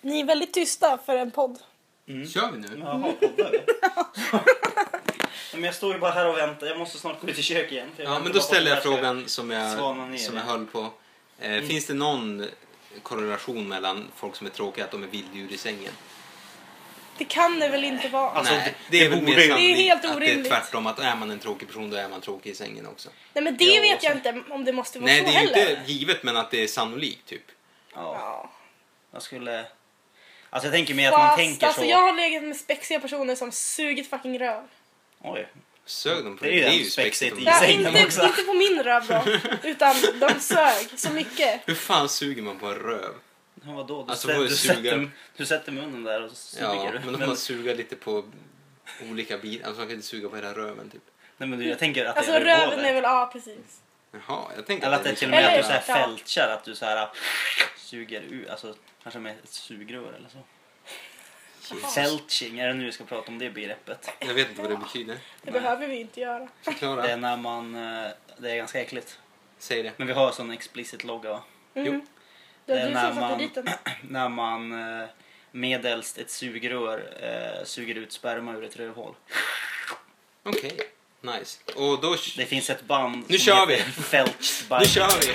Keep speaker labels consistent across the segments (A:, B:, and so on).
A: Ni är väldigt tysta för en podd.
B: Kör vi nu?
C: Jaha, poddar du? Men jag står ju bara här och väntar. Jag måste snart gå ut i köket igen. för jag
B: Ja, men
C: väntar bara
B: då
C: på
B: ställer jag
C: att det här ska-
B: frågan som jag,
C: Svanan ner. Mm.
B: som jag höll på. Eh, Finns det någon korrelation mellan folk som är tråkiga att de är vilddjur i sängen?
A: Det kan det väl inte vara?
C: Alltså,
B: Nej,
C: det-
B: det är
C: det
B: väl
C: borde
B: mer
C: ju-
B: sannolikt
A: Det är helt
B: att det är
A: orimligt.
B: tvärtom. Att är man en tråkig person då är man tråkig i sängen också.
A: Nej men det
C: Ja,
A: vet jag
C: så-
A: inte om det måste vara
B: Nej,
A: så
B: det är ju
A: heller.
B: inte givet men att det är sannolikt typ.
C: Ja,
A: Ja.
C: jag skulle... Alltså jag tänker mer att man
A: Fast
C: tänker
A: alltså
C: så.
A: jag har legat med spexiga personer som sugit fucking röv.
C: Oj.
B: Sög de på
C: Det är
B: dig?
C: ju
B: Det är
C: den
B: ju spexigt. om-
C: spexigt i
A: Ja,
C: sängen
A: inte,
C: också.
A: inte på min röv då. Utan de sög så mycket.
B: Hur fan suger man på en röv?
C: Ja, vadå? Du,
B: Alltså,
C: sä-
B: får jag
C: du,
B: suga?
C: sätter, du sätter munnen där och så suger
B: Ja,
C: du.
B: men då får man suga lite på olika bitar. Alltså man kan inte suga på hela röven typ.
C: nej, men du, jag tänker att
A: Alltså
C: det är
A: röven
C: röven
A: är väl, ja precis.
B: Jaha, jag tänkte
C: Eller att
B: det
C: det
B: är
C: till och
B: liksom-
C: med att du
A: Eller-
C: så här
A: ja.
C: fältkär, att du så här suger ur, alltså kanske med ett sugrör eller så. Fältching, är det nu vi ska prata om det begreppet?
B: Jag vet inte vad det betyder.
A: Det behöver vi inte göra.
C: Det är
B: Förklara.
C: när man, eh, det är ganska äckligt.
B: Säg det.
C: Men vi har sån explicit logga va?
A: Mm. Det
C: Det
A: var
C: är
A: du
C: när
A: som satte
C: man-
A: dit den.
C: När man eh, medelst ett sugrör eh, suger ut sperma ur ett rövhål.
B: Okej, nice. Och då...
C: Det finns ett band
B: Nu kör vi.
C: Felch
B: Nu kör vi!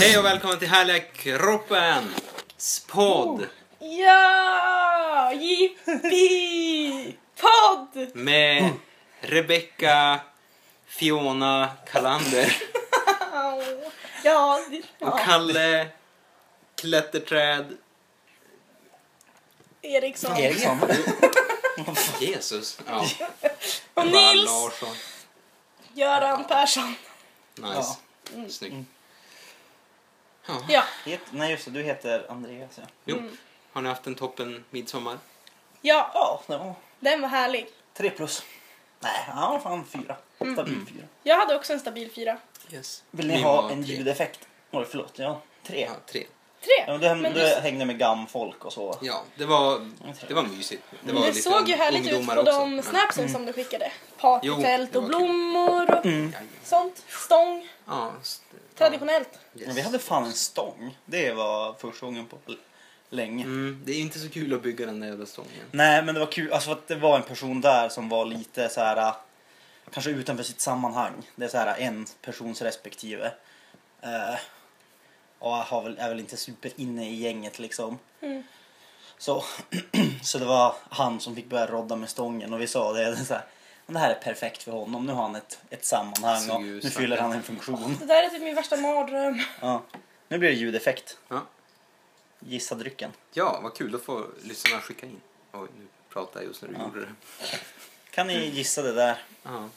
B: Hej och välkommen till Härliga Kroppen!
A: Oh.
B: Podd
A: Ja! Jippi! Podd!
B: med Rebecca Fiona Kalander
A: Au. Ja, det-
B: och
A: ja.
B: Kalle Klätterträd
A: Eriksson.
C: Eriksson.
B: Jesus. Ja.
A: Och
B: Ebba
A: Nils
B: Larsson.
A: Göran Persson.
B: Nice.
A: Mm.
B: Snyggt. Ja.
A: Ja,
C: Het, nej just det, du heter Andreas ja.
B: Jo.
A: Mm.
B: Har ni haft en toppen midsommar?
A: ja,
C: Ja, det var
A: den var härlig.
C: tre plus. Nej, han var fan fyra. Stabil fyra.
A: Jag hade också en stabil fyra.
B: Yes.
C: Vill ni
B: Min
C: ha
B: var
C: en
B: tre.
C: ljudeffekt? Oj, förlåt. Ja, tre.
B: Ja, tre.
A: Tre.
C: Ja, men du, häng-
A: Men
C: du
A: det-
C: hängde med gamfolk och så.
B: Ja, det var, det var mysigt. Det, var
A: det
B: lite
A: såg ju härligt ut
B: ungdomar
A: på
B: också,
A: de
B: men-
A: snapsen som du skickade.
B: Jo,
A: Partytält
B: det
A: och
B: var Mm.
A: blommor och
B: Ja, ja.
A: sånt. Stång.
B: Ja, s-
A: Traditionellt.
B: yes.
C: Men vi hade fan en stång. Det var första gången på l- länge.
B: mm, det är ju inte så kul att bygga den där jävla stången.
C: Nej, men det var kul. Alltså för att det var en person där som var lite så här... äh, Kanske utanför sitt sammanhang. Det är så här äh, en persons respektive. Eh, och har väl, är väl inte super inne i gänget liksom. Så, så det var han som fick börja rodda med stången och vi sa det. det är så här, men det här är perfekt för honom. Nu har han ett, ett sammanhang
B: Så
C: och
B: ju
C: nu
B: stackars.
C: fyller han en funktion.
A: Det där är typ min värsta mardröm.
C: Ja. Nu blir det ljudeffekt.
B: Ja.
C: Gissa drycken.
B: ja, vad kul. Då får lyssnarna skicka in. Oj, nu pratar jag just när du gjorde det.
C: Kan ni gissa det där?
B: Ja,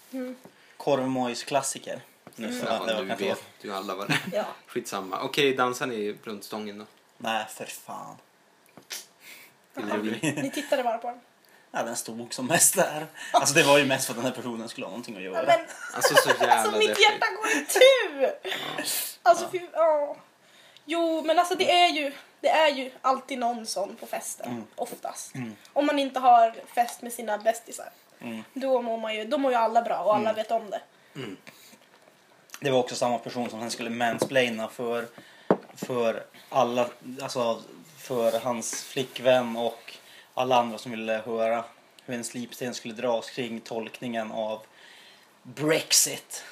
C: Korvmojs klassiker. Nu sa jag att det var
B: Mm. du
C: kanske
B: vet ju alla vad det är.
A: Ja.
B: Skitsamma. Okej, dansar ni runt stången då?
C: Nej, för fan.
B: Eller hur?
A: Ni tittade bara på den.
C: Ja, den stod som mest där. Alltså det var ju mest för att den här personen skulle ha någonting att göra.
A: Men
B: Alltså så jävla
A: alltså mitt
B: deppigt.
A: hjärta går itu! Alltså fy... Ja. Jo men alltså det är ju... Det är ju alltid någon sån på festen.
B: Mm.
A: Oftast. Om man inte har fest med sina bästisar.
C: Mm.
A: Då mår man ju... Då mår ju alla bra och
B: Mm.
A: alla vet om det.
C: Det var också samma person som sen skulle mansplaina för, för alla, alltså för hans flickvän och alla andra som ville höra hur en slipsten skulle dras kring tolkningen av Brexit.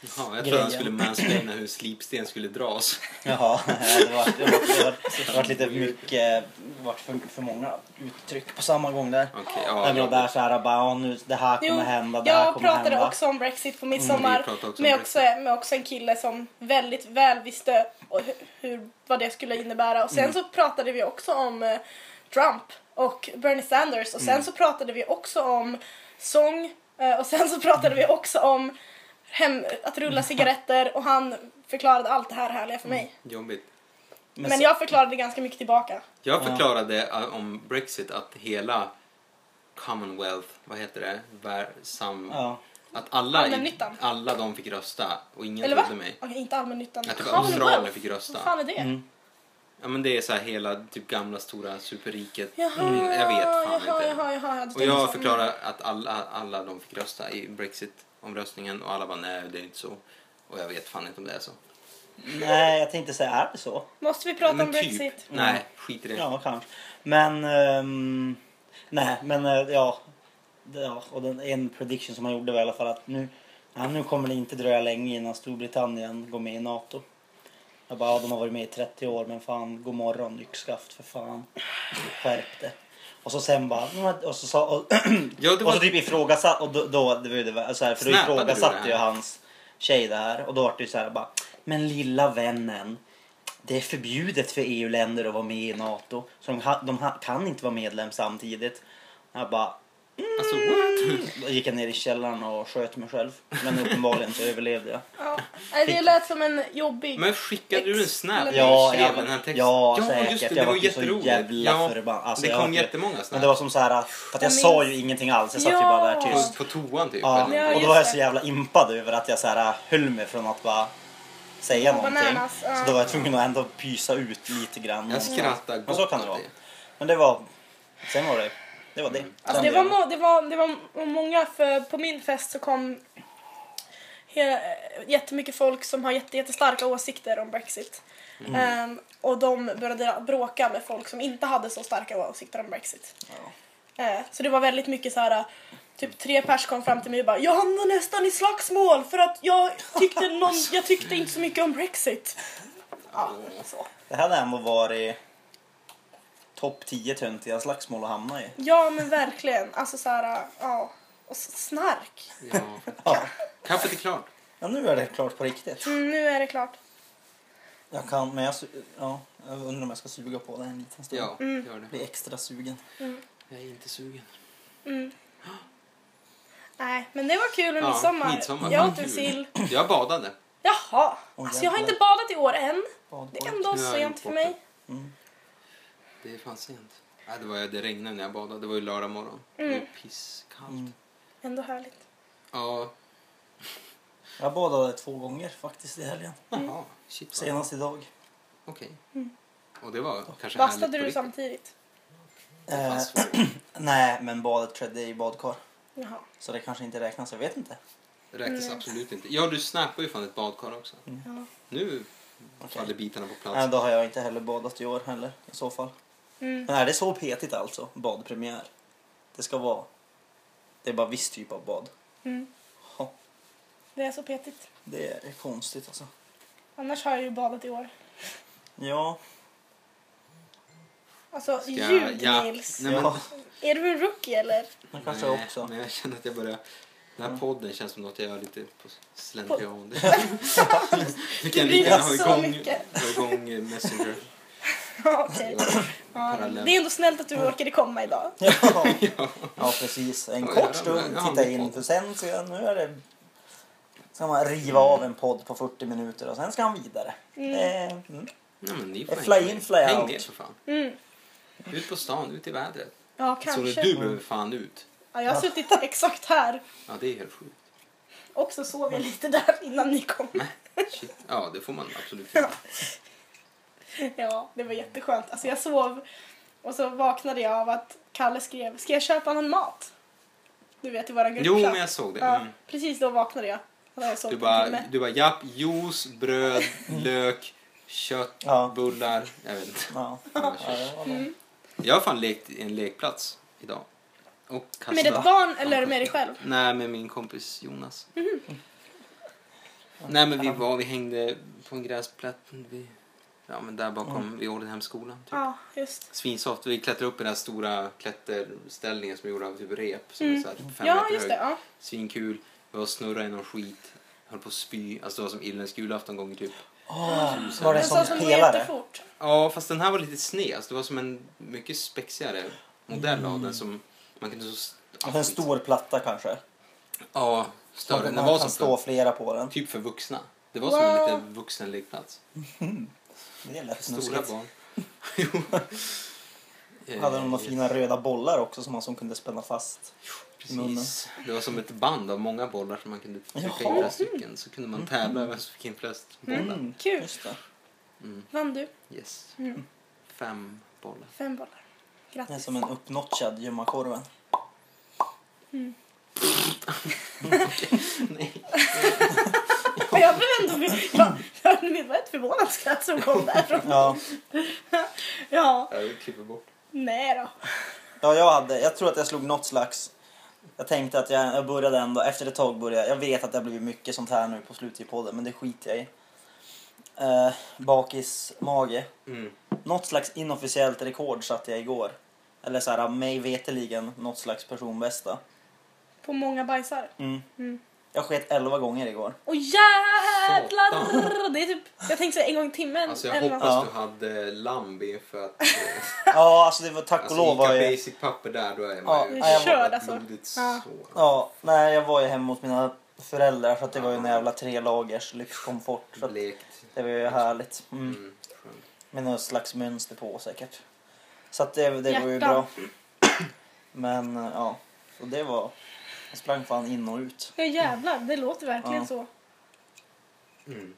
B: Jaha, jag trodde han
C: grejen.
B: skulle mansplaina hur slipsten skulle dras.
C: Jaha, det var, det var, det var, det var lite mycket, det var för, för många uttryck på samma gång där.
B: Okej,
C: Ja,
B: ja.
C: det var där så här, bara, ja, nu, det här kommer hända, det här
A: jag
C: kommer
A: pratade
C: hända.
A: också om Brexit på
B: Mm, vi
A: midsommar.
B: pratade också om
A: med, också, med också en kille som väldigt väl visste och hur, hur, vad det skulle innebära. Och sen
B: Mm.
A: så pratade vi också om eh, Trump och Bernie Sanders. Och sen
B: Mm.
A: så pratade vi också om sång. eh, och sen så pratade vi också om hem, att rulla cigaretter. Och han förklarade allt det här härliga
B: Mm.
A: för mig.
B: Jobbigt.
A: Men,
C: så-
A: jag förklarade ganska mycket tillbaka.
B: Jag förklarade eh, om Brexit att hela Commonwealth, vad heter det? Vär, sam,
C: Ja.
B: Att alla, i,
A: Allmännyttan.
B: alla de fick rösta och ingen
A: Eller va?
B: trodde mig.
A: Okej, inte allmännyttan.
B: Att det var
A: Commonwealth.
C: mm.
B: Australien fick rösta. Mm.
A: Vad fan är det?
B: Ja men det är så här hela typ gamla stora superriket.
A: Jaha,
B: Mm, jag vet fan
A: jaha,
B: inte.
A: Jaha, jaha, jag
B: Och jag förklarar att alla, alla de fick rösta i Brexit-omröstningen och alla bara nej det är inte så. Och jag vet fan inte om det är så.
C: Nej, jag tänkte säga, är det så?
A: Måste vi prata
B: Men
A: om
B: typ,
A: Brexit?
B: Nej, skit i det.
C: Ja, kanske. Men... ehm, nej, men eh, ja. Det- ja. Och den, en prediction som han gjorde var i alla fall att nu, ja, nu kommer det inte dröja länge innan Storbritannien går med i NATO. Jag bara, ja, de har varit med i 30 år, men fan, god morgon yxskaft för fan. Skärp det. Och så sen bara, "Mm", och så sa, och,
B: Ja, det
C: och
B: var...
C: så typ ifrågasatt, och då, då det var ju det, vär- så här, för då
B: Snappade du det
C: ifrågasatte
B: här?
C: ju hans tjej det här och då var det ju så här bara, men lilla vännen, det är förbjudet för EU-länder att vara med i NATO, så de, ha, de ha, kan inte vara medlem samtidigt. Jag bara,
B: Alltså what?
C: då gick jag ner i källaren och sköt mig själv, men uppenbarligen så överlevde jag.
A: Ja. Nej, det lät som en jobbig...
B: Men skickade du en snap? när
C: Ja,
B: du
C: jag,
B: skrev den här texten?
C: ja,
B: ja
C: säkert.
B: just det,
C: jag
B: det var
C: ju så
B: jätteroligt.
C: jävla
B: ja,
C: förbannad. Alltså,
B: det
C: jag
B: kom
C: var-
B: jättemånga
C: Men det
B: sådana.
C: var som så här, för att jag
A: Jag
C: sa
A: minns-
C: ju ingenting alls, jag satt ju
A: Ja.
C: bara där tyst.
B: På, på toan typ?
C: Ja,
B: eller?
A: Ja,
C: och
A: just
C: då var jag
A: det.
C: så jävla impad över att jag så här, äh, höll mig från att bara säga någonting.
A: bananas, ja.
C: Så då var jag tvungen att ändå pysa ut lite grann.
B: Jag skrattar
C: Men
B: gott
C: så kan det
B: åt
C: vara. Men det var, sen var det, det var det.
B: Mm.
A: Alltså, det, var, må- det, var, det var många, för på min fest så kom hela, jättemycket folk som har jätte, jättestarka åsikter om Brexit.
B: Mm.
A: Ehm, och de började bråka med folk som inte hade så starka åsikter om Brexit. Eh, Så det var väldigt mycket så här. Typ tre pers kom fram till mig och bara Jag hamnade nästan i slagsmål för att jag tyckte, någon, jag tyckte inte så mycket om Brexit. Ja, så.
C: Det hade ändå varit topp 10 töntiga slagsmål att hamna i.
A: ja men verkligen. Alltså så här, ja. Och så snark.
B: Ja.
C: Ja.
B: Kaffet är klart.
C: ja, nu är det klart på riktigt.
A: Mm, nu är det klart.
C: Jag kan, men jag, su- ja, jag undrar om jag ska suga på det en liten stund.
B: Ja, gör det.
C: Bli extra sugen.
B: Jag är inte sugen.
A: Mm. Nej, men det var kul med
B: Ja,
A: midsommar.
B: midsommar,
A: Jag
B: fan,
A: åt en
B: kul.
A: sill.
B: Jag badade.
A: Jaha,
C: Oj,
A: alltså jag har
C: jävlar.
A: inte badat i år än. Det är
C: Badpojk.
A: ändå
B: Nu har jag
A: sent
B: gjort
A: för
B: bort
A: mig.
C: Mm.
B: Det är fan sent. Nej, det, var, det regnade när jag badade. Det var ju lördag morgon. Det var pisskallt.
C: Mm.
A: Ändå härligt.
B: Ja,
C: Jag badade två gånger faktiskt i helgen.
B: jaha. Shit vad...
C: Senast idag.
B: Okej.
C: Mm.
B: Och det var kanske
A: Bastade du
B: härligt på riktigt.
A: samtidigt?
B: Det
C: Eh,
B: fanns svårt.
C: Nej, men badet skedde i badkar.
A: Jaha.
C: Så det kanske inte räknas, jag vet inte.
B: Det räknas
C: Mm.
B: absolut inte. Ja, du snappade ju fan ett badkar också.
A: Ja.
B: Nu
C: Okej.
B: faller bitarna på plats.
C: Nej, då har jag inte heller badat i år heller i så fall.
A: Mm.
C: Men är det så petigt alltså, badpremiär? Det ska vara... Det är bara viss typ av bad.
A: Mm.
C: Ja,
A: Det är så petigt.
C: det är konstigt alltså.
A: Annars har jag ju badat i år.
C: Ja,
A: Alltså
B: Ska jag-
A: ljud
B: ja.
A: Nils.
B: Nej, men-
C: ja
A: Är du en rookie eller?
C: men kanske jag
B: Nej,
C: också. Mm.
B: Men jag känner att jag börjar... Den här podden känns som något jag gör lite på slentrian. Vi
A: Det blir
B: kan lika gärna ha
A: så
B: igång,
A: mycket.
B: ha igång eh, Messenger.
A: Ja, Okej. Ja,
B: Parallellt.
A: det är ändå snällt att du orkade komma idag.
C: Ja. ja, precis. En
B: Ja,
C: kort
B: ja,
C: stund
B: men- ja,
C: titta
B: men-
C: in, för sen så nu är det... Ska man riva av en podd på 40 minuter och sen ska han vidare. Eh, mm.
B: Nej, men ni
C: Eh,
B: får
C: fly
B: hänga
C: in,
B: med.
C: fly
B: Häng
C: out.
B: med för fan.
A: Mm.
B: Ut på stan, ut i vädret.
A: Ja,
B: Så
A: kanske.
B: du behöver fan ut.
A: Ja, jag har suttit exakt här.
B: Ja, det är helt sjukt.
A: Och så sov jag lite där innan ni kom.
B: Shit. Ja, det får man absolut göra.
A: Ja, det var jätteskönt. Alltså jag sov och så vaknade jag av att Kalle skrev Ska jag köpa någon mat? Du vet i våran grupp.
B: Jo, men jag såg det.
A: ja,
B: Mm.
A: Precis då vaknade jag. Då hade jag sovit
B: Du
A: en
B: bara,
A: timme.
B: du bara japp, juice, bröd, lök, kött,
C: Ja.
B: bullar. Jag vet inte.
C: Ja.
B: Ja,
C: Ja, det var det.
B: Jag har fan lekt i en lekplats idag. Och kastat.
A: Med ett barn eller med dig själv?
B: Nej, med min kompis Jonas.
A: Mhm.
B: Mm. Nej, men vi var, vi hängde på en gräsplätt. Vi, ja, men där bakom, vid Ordenhemskolan. Typ.
A: Ja, just.
B: Svinsoft. Vi klättrade upp i den här stora klätterställningen som är gjord av typ rep. Som är så här fem
A: Mm. Ja,
B: meter
A: just
B: hög.
A: det. Ja.
B: Svinkul. Vi var och snurrade i någon skit. Höll på att spy. Alltså det var som irländsk julafton gånger typ.
C: Åh, var Ah, det
A: En sån
C: som
A: som går
C: pelare?
A: jättefort.
B: Ja, fast den här var lite sned. Alltså, det var som en mycket spexigare modell av den som man kunde så...
C: Och En stor platta kanske?
B: Ja, större.
C: man
B: Den var
C: kan
B: som
C: stå
B: för,
C: flera på den.
B: typ för vuxna. Det var som en
A: Wow.
B: liten vuxenlekplats.
C: Hmm. Det är lätt
B: Stora
C: snuskigt.
B: barn. Jo. Eh,
C: Hade de några fina röda bollar också som man som kunde spänna fast? munnen.
B: Precis. Det var som ett band av många bollar som man kunde trycka in
C: Jaha.
B: flera stycken. Så kunde man tävla vem som fick in flest bollar.
C: Mm,
A: Kul.
C: just det.
B: Mm.
A: Vann du?
B: Yes.
A: Mm.
B: Fem bollar.
A: Fem bollar.
C: Det är
A: Grattis.
C: som en uppnotchad gömmakorven.
B: Nej.
A: Och jag blev ändå... Jag, jag blev ett förvånat skratt som kom därifrån.
C: Ja.
A: Ja,
B: Jag klipper bort.
A: nej då.
C: Ja, jag hade, jag tror att jag slog något slags... Jag tänkte att jag, jag började ändå, efter ett tag började jag... Jag vet att det har blivit mycket sånt här nu på slutet i podden, men det skiter jag i. Eh, Bakismage.
B: Mm.
C: Något slags inofficiellt rekord satte jag igår. Eller så här, mig veteligen något slags personbästa.
A: På många bajsar.
C: Mm.
A: Mm.
C: Jag sket 11 gånger igår.
A: Och jävlar! Det är typ, jag tänkte säga en gång i timmen.
B: Alltså jag
A: eller
B: hoppas
A: något.
C: Ja.
B: du hade lambi för att...
C: Ja, alltså det var tack och
B: Alltså
C: lov var
B: Ica
C: jag...
B: basic papper där, då är
C: Ja,
B: man ju
C: nej, jag var-
A: Körd, alltså.
B: blodigt
A: Ja.
B: så.
C: Ja, nej, jag var ju hemma hos mina föräldrar så att det var ju en jävla tre lagers lyxkomfort. Så att
B: Blekt.
C: det var ju härligt. Mm.
B: Mm. skönt.
C: Med något slags mönster på säkert. Så att det, det var ju
A: Hjärtan.
C: bra. Men eh, ja, och det var... Jag sprang fan in och ut.
A: Ja jävlar, det låter verkligen
C: Ja.
A: så.
B: Mm.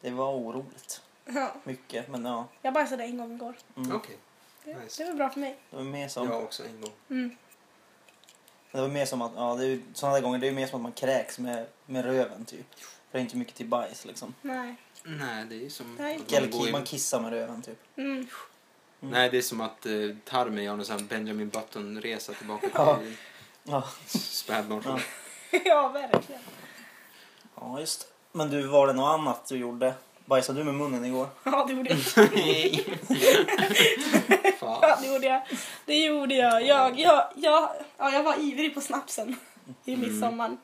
C: Det var oroligt.
A: Ja.
C: Mycket, men ja.
A: Jag bajsade en gång igår.
C: Mm.
B: Okej,
A: Det,
B: Nice.
A: det var bra för mig.
C: Det var mer som...
B: jag har också en gång.
A: Mm.
C: Det var mer som att, ja, det är ju, sådana där gånger, det är ju mer som att man kräks med, med röven typ. För det är inte mycket till bajs liksom.
A: Nej.
B: Nej, det är ju som...
A: Nej.
B: att man
C: Eller
B: går
C: ki-
B: i-
C: man kissar med röven typ.
A: Mm.
B: Nej, det är som att eh, tarmen gör någon sån här Benjamin Button-resa tillbaka
C: Ja.
B: till
C: Ja,
B: spädbarnsåldern.
A: ja, verkligen.
C: ja just det. Men du, var det något annat du gjorde? Bajsade du med munnen igår?
A: Ja, det gjorde jag.
B: Nej.
A: Ja,
B: Fan.
A: det gjorde jag. Det gjorde jag. Jag, jag, jag, ja, jag var ivrig på snapsen i
B: Mm.
A: midsommar.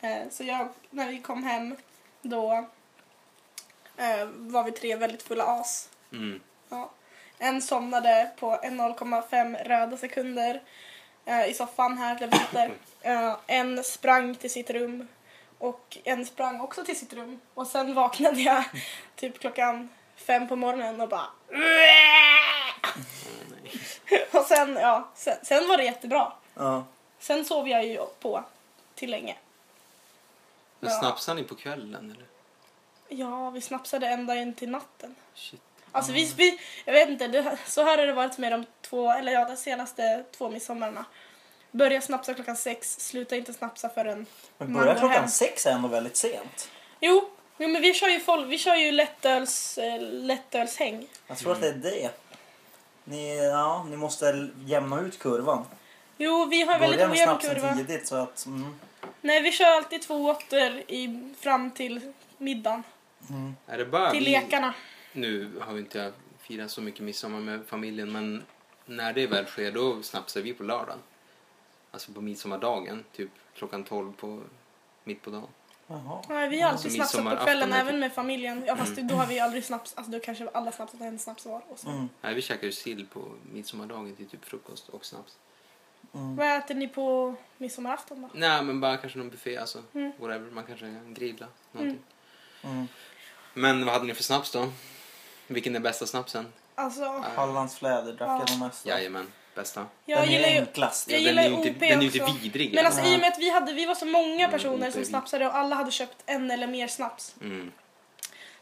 A: Eh, Så jag, när vi kom hem då eh, var vi tre väldigt fulla as.
B: Mm.
A: Ja. En somnade på en 0,5 röda sekunder eh, i soffan här där vi sitter. Eh, en sprang till sitt rum och en sprang också till sitt rum. Och sen vaknade jag typ klockan fem på morgonen och bara
B: Ja, nej.
A: och sen, ja, sen, sen var det jättebra.
C: Ja.
A: Sen sov jag ju på till länge.
B: Men
A: Ja.
B: snapsar ni på kvällen eller?
A: Ja, vi snapsade ända in till natten.
B: Shit.
A: Alltså vi,
C: Mm.
A: vi jag vet inte, det, så här har det varit med de två, eller ja, de senaste två midsommarna. Börja snapsa klockan sex, sluta inte snapsa förrän...
C: Men
A: Man
C: börjar
A: går
C: klockan
A: hem.
C: sex är ändå väldigt sent.
A: Jo, jo men vi kör ju, folk, vi kör ju lättöls, eh, lättölshäng.
C: Jag tror
B: Mm.
C: att det är det. Ni, ja, ni måste jämna ut kurvan.
A: Jo, vi har väldigt
C: Börja med
A: ojämn
C: snapsen
A: kurva.
C: tidigt så att... Mm,
A: Nej, vi kör alltid två åttor i, fram till middagen.
C: mm.
B: Är det bara
A: Till
B: vi-
A: lekarna.
B: Nu har ju inte jag firat så mycket midsommar med familjen men när det väl sker då snapsar vi på lördagen. Alltså på midsommardagen, typ klockan 12 på mitt på dagen.
C: Jaha.
A: Nej, vi har alltid
C: Mm.
B: Alltså,
A: snapsat på
B: midsommarafton
A: kvällen
B: är
C: typ-
A: även med familjen. Ja, fast då har vi ju aldrig snaps, alltså då kanske alla snapsat en snaps var och så.
C: Mm,
B: Nej, vi käkar ju sill på midsommardagen till typ frukost och snaps.
C: mm.
A: Vad äter ni på midsommarafton då?
B: Nej, men bara kanske någon buffé alltså.
A: Mm.
B: Whatever, man kanske grillar någonting.
C: Mm.
B: Men vad hade ni för snaps då? Vilken är bästa snapsen?
A: Alltså,
C: Hallandsfläder drack jag
A: Ja.
C: den mest. av.
B: Jajamän, bästa.
A: jag
C: den är
A: gillar ju...
C: enklast.
A: Jag
B: Ja,
A: gillar
B: den är ju
A: OP
B: inte, den är ju inte
A: också.
B: vidrig.
A: Men alltså
C: Ja.
A: i och med att vi, hade, vi var så många
B: Mm,
A: personer som
B: otroligt.
A: snapsade och alla hade köpt en eller mer snaps.
B: mm.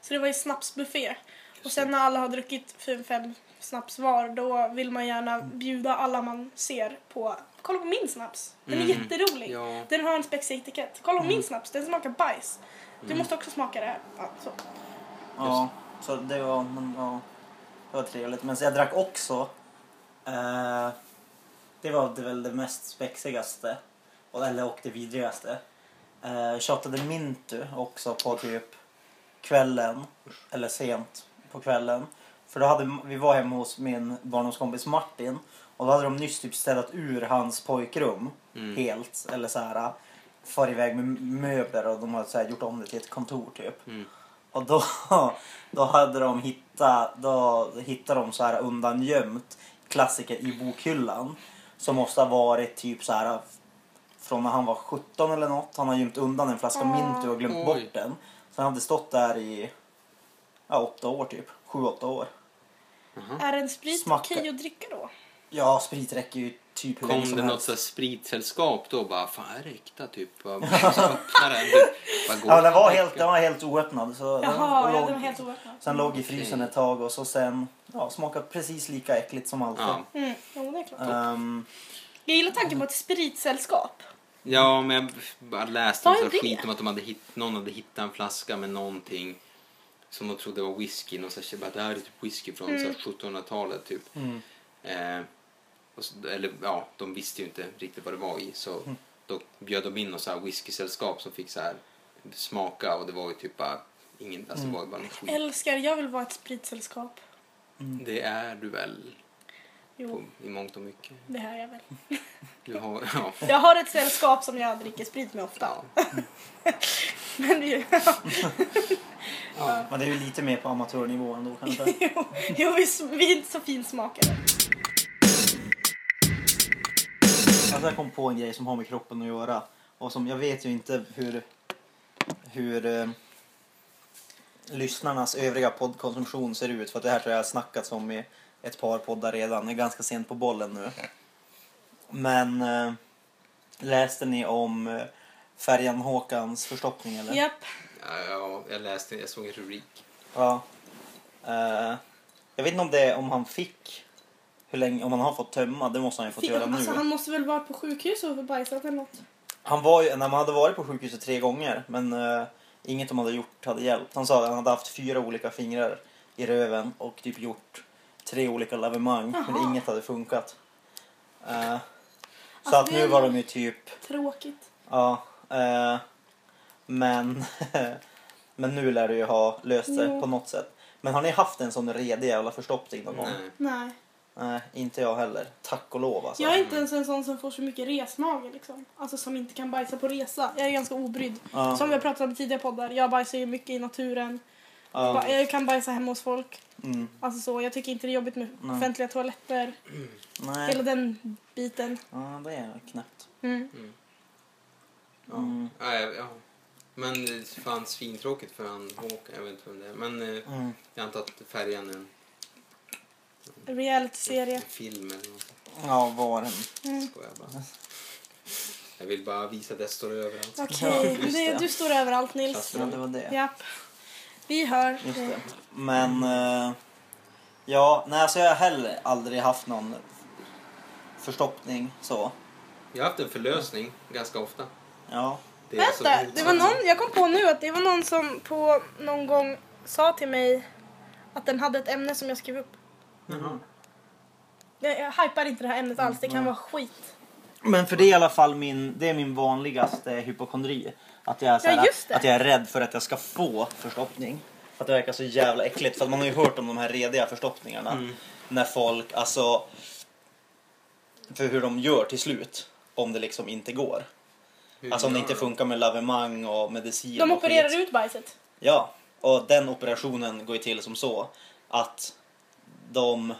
A: Så det var ju snapsbuffé. Och sen när alla har druckit fem, fem snaps var, då vill man gärna bjuda alla man ser på Kolla på min snaps! Den är
B: Mm.
A: jätterolig!
B: Ja.
A: Den har en spexig etikett. Kolla på min snaps, den smakar bajs. Du måste också smaka det här. Ja, så.
C: Ja, så det var, men, ja, det var trevligt. Men så jag drack också, eh, det var det väl det mest spexigaste, och- eller och det vidrigaste. Eh, tjatade Mintu också på typ kvällen, eller sent på kvällen. För då hade, vi var hemma hos min barndomskompis Martin och då hade de nyss typ städat ur hans pojkrum
B: Mm.
C: helt. Eller så här, far iväg med möbler och de hade så här, gjort om det till ett kontor typ.
B: Mm.
C: Och då, då hade de hittat, då hittade de så här undangömt klassiker i bokhyllan. Som måste ha varit typ så här från när han var 17 eller något. Han har gömt undan en flaska
A: Åh.
C: Mintu och glömt
B: Oj.
C: bort den. Så han hade stått där i ja, åtta år typ. Sju, åtta år.
A: Är en sprit
C: Smaka.
A: okej att dricka då?
C: Ja, sprit räcker ju typ hur länge
B: Kom
C: som
B: det något
C: helst.
B: så här spritsällskap då bara, fan är det äkta typ? Bara, så öppnar den, typ. Bara går
C: Ja, den var
B: och
C: helt, den
B: dricker.
C: var helt oöppnad. Så
A: Jaha,
C: den,
A: ja,
C: låg,
A: den var helt oöppnad.
C: Sen låg i frysen
B: Okej.
C: ett tag och så sen ja, smakade precis lika äckligt som alltid.
B: Ja.
A: Mm, jo, det är klart.
C: Ehm,
A: Jag gillar tanken på ett spritsällskap.
B: ja, men jag bara läste om
A: Vad
B: så
A: är
B: här
A: det?
B: skit om att de hade hitt, någon hade hittat en flaska med någonting som de trodde var whisky. Någon så här, bara, det här är typ whisky från
A: Mm.
B: så här 1700-talet typ.
C: mm.
B: Eh, och så, eller ja, de visste ju inte riktigt vad det var i. Så då bjöd de in något så här whiskysällskap som fick så här smaka och det var ju typ bara ingen, alltså det var ju bara någon skit.
A: Älskar, jag vill vara ett spritsällskap.
B: Det är du väl på,
A: Jo,
B: i mångt och mycket.
A: det här är jag väl.
B: Du har, ja.
A: Jag har ett sällskap som jag dricker sprit med ofta. Men det är ju-
B: ja.
C: Men det är ju lite mer på amatörnivå ändå kanske.
A: jo, jo, vi, sm- vi är inte så finsmakare.
C: Alltså jag kom på en grej som har med kroppen att göra. Och som jag vet ju inte hur, hur eh, lyssnarnas övriga poddkonsumtion ser ut. För att det här tror jag har snackats om i ett par poddar redan. Jag är ganska sent på bollen nu. Men eh, läste ni om eh, färjan Håkans förstoppning eller?
A: Japp.
B: Ja, ja, jag läste, jag såg en rubrik.
C: Ja. Eh, jag vet inte om det om han fick, hur länge, om han har fått tömma. Det måste han ju fått göra nu.
A: Alltså, han måste väl vara på sjukhus och bajsat eller något.
C: Han var ju, när man hade varit på sjukhuset tre gånger men eh, inget de hade gjort hade hjälpt. Han sa att han hade haft fyra olika fingrar i röven och typ gjort tre olika lavemang
A: Jaha.
C: men inget hade funkat. Eh, så
A: Alltså,
C: att
A: det
C: nu
A: är-
C: var de ju typ,
A: Tråkigt.
C: ja. eh, men, men nu lär du ju ha löst det
A: Jo.
C: på något sätt. Men har ni haft en sån redig jävla förstoppning någon gång?
A: Mm.
B: Nej.
A: Nej.
C: Nej, inte jag heller. Tack och lov alltså.
A: Jag är inte ens en sån som får så mycket resmage liksom. Alltså som inte kan bajsa på resa. Jag är ganska obrydd.
C: Ja,
A: Som vi har pratat om i tidigare poddar. Jag bajsar ju mycket i naturen.
C: ja,
A: Ba- Jag kan bajsa hemma hos folk.
C: mm,
A: Alltså så. Jag tycker inte det är jobbigt med
C: Nej.
A: offentliga toaletter.
C: nej,
A: Hela den biten.
C: ja, det är knäppt.
A: Mm.
C: Mm.
B: Ja, ja, ja. Men det fanns fintråkigt för han Håkan, jag vet inte vem det är. Men eh,
C: Mm.
B: jag antar att färjan är en, en
A: Reality-serie.
B: film eller något.
C: Ja, var den.
A: Mm.
B: Skojar bara. Jag vill bara visa att jag står överallt.
A: Okej,
C: Ja, just
A: det-
C: det.
A: du står överallt Nils.
B: Fast-
C: Ja, det var det.
A: Japp. Vi hör.
C: Just det. Men... eh, ja, nej alltså jag har heller aldrig haft någon förstoppning så.
B: Jag har haft en förlösning ganska ofta.
C: Ja.
B: Det är
A: Vänta,
B: alltså-
A: det var någon, jag kom på nu att det var någon som på någon gång sa till mig att den hade ett ämne som jag skrev upp.
B: Jaha.
A: Jag, jag hypar inte det här ämnet alls, det
B: Mm.
A: kan vara skit.
C: Men för det är i alla fall min, det är min vanligaste hypokondri. Att jag, är så här,
A: Ja, just det.
C: att jag är rädd för att jag ska få förstoppning. För att det verkar så jävla äckligt. För att man har ju hört om de här rediga förstoppningarna. När folk, alltså... För hur de gör till slut. Om det liksom inte går.
B: Hur
C: Alltså om det
B: gör
C: inte
B: de?
C: funkar med lavemang och medicin
A: De
C: och
A: opererar
C: skit.
A: ut bajset.
C: Ja, och den operationen går ju till som så att de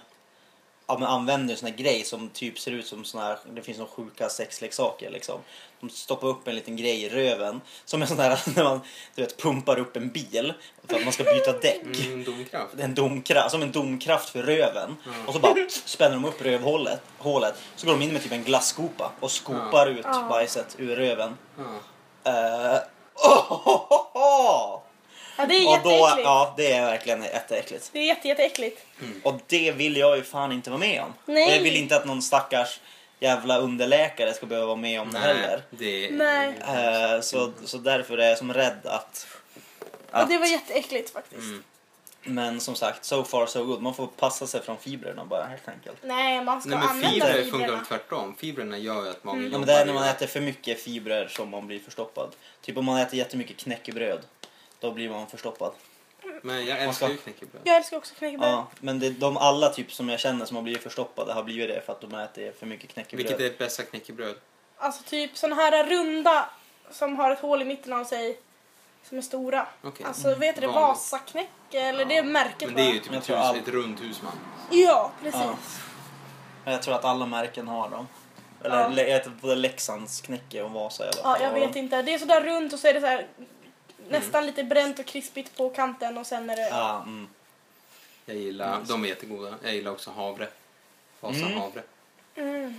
C: ja, men använder en sån här grej som typ ser ut som sån här, det finns några sjuka sexleksaker liksom. De stoppar upp en liten grej i röven som är sån här när man du vet, pumpar upp en bil för att man ska byta däck.
B: Mm, domkraft.
C: Det är En domkraft, som en domkraft för röven. Och så bara spänner de upp rövhålet. Hålet, så går de in med typ en glasskopa och skopar ut
A: Ja.
C: bajset ur röven.
B: Ja.
C: Eh, ohohoho!
A: Ja, det är
C: Och då,
A: jätteäckligt.
C: ja, det är verkligen jätteäckligt.
A: Det är jätte, jätteäckligt.
C: Och det vill jag ju fan inte vara med om.
A: Nej.
C: Och jag vill inte att någon stackars jävla underläkare ska behöva vara med om det heller.
B: det är...
A: Nej.
C: Eh, så, så därför är jag som rädd att...
A: Ja,
C: att
A: det var jätteäckligt faktiskt.
B: Mm.
C: Men som sagt, so far so good. Man får passa sig från fibrerna bara helt enkelt.
A: Nej, man ska
B: Nej, men
A: använda
B: fibrer
A: fibrerna. Mm.
B: funkar tvärtom. Fibrerna gör ju att magen
C: Ja,
B: jobbar.
C: men det är när
B: ju.
C: man äter för mycket fibrer som man blir förstoppad. Typ om man äter jättemycket knäckebröd, då blir man förstoppad.
B: Men jag älskar ju knäckebröd.
A: Jag älskar också knäckebröd.
C: Ja, men det, de alla typ som jag känner som har blivit förstoppade har blivit det för att de äter för mycket knäckebröd.
B: Vilket är det bästa knäckebröd?
A: Alltså typ såna här runda som har ett hål i mitten av sig som är stora.
B: Okej.
A: Alltså vad heter det?
B: Vanligt.
A: Vasaknäcke eller det är märket
B: Men det är ju
A: va?
B: typ
C: Jag
B: ett,
C: tror
B: hus,
C: all-
B: ett runt husman.
A: Ja, precis.
C: Ja. Men Jag tror att alla märken har dem.
A: Ja.
C: Eller le- jag äter både Leksands knäcke och Vasa i alla
A: Ja,
C: fall.
A: jag vet inte. Det är sådär runt och så är det så här nästan lite bränt och krispigt på kanten och sen är det...
C: Ja, mm.
B: Jag gillar, de är jättegoda. Jag gillar också havre. Vasa
C: Mm.
B: havre.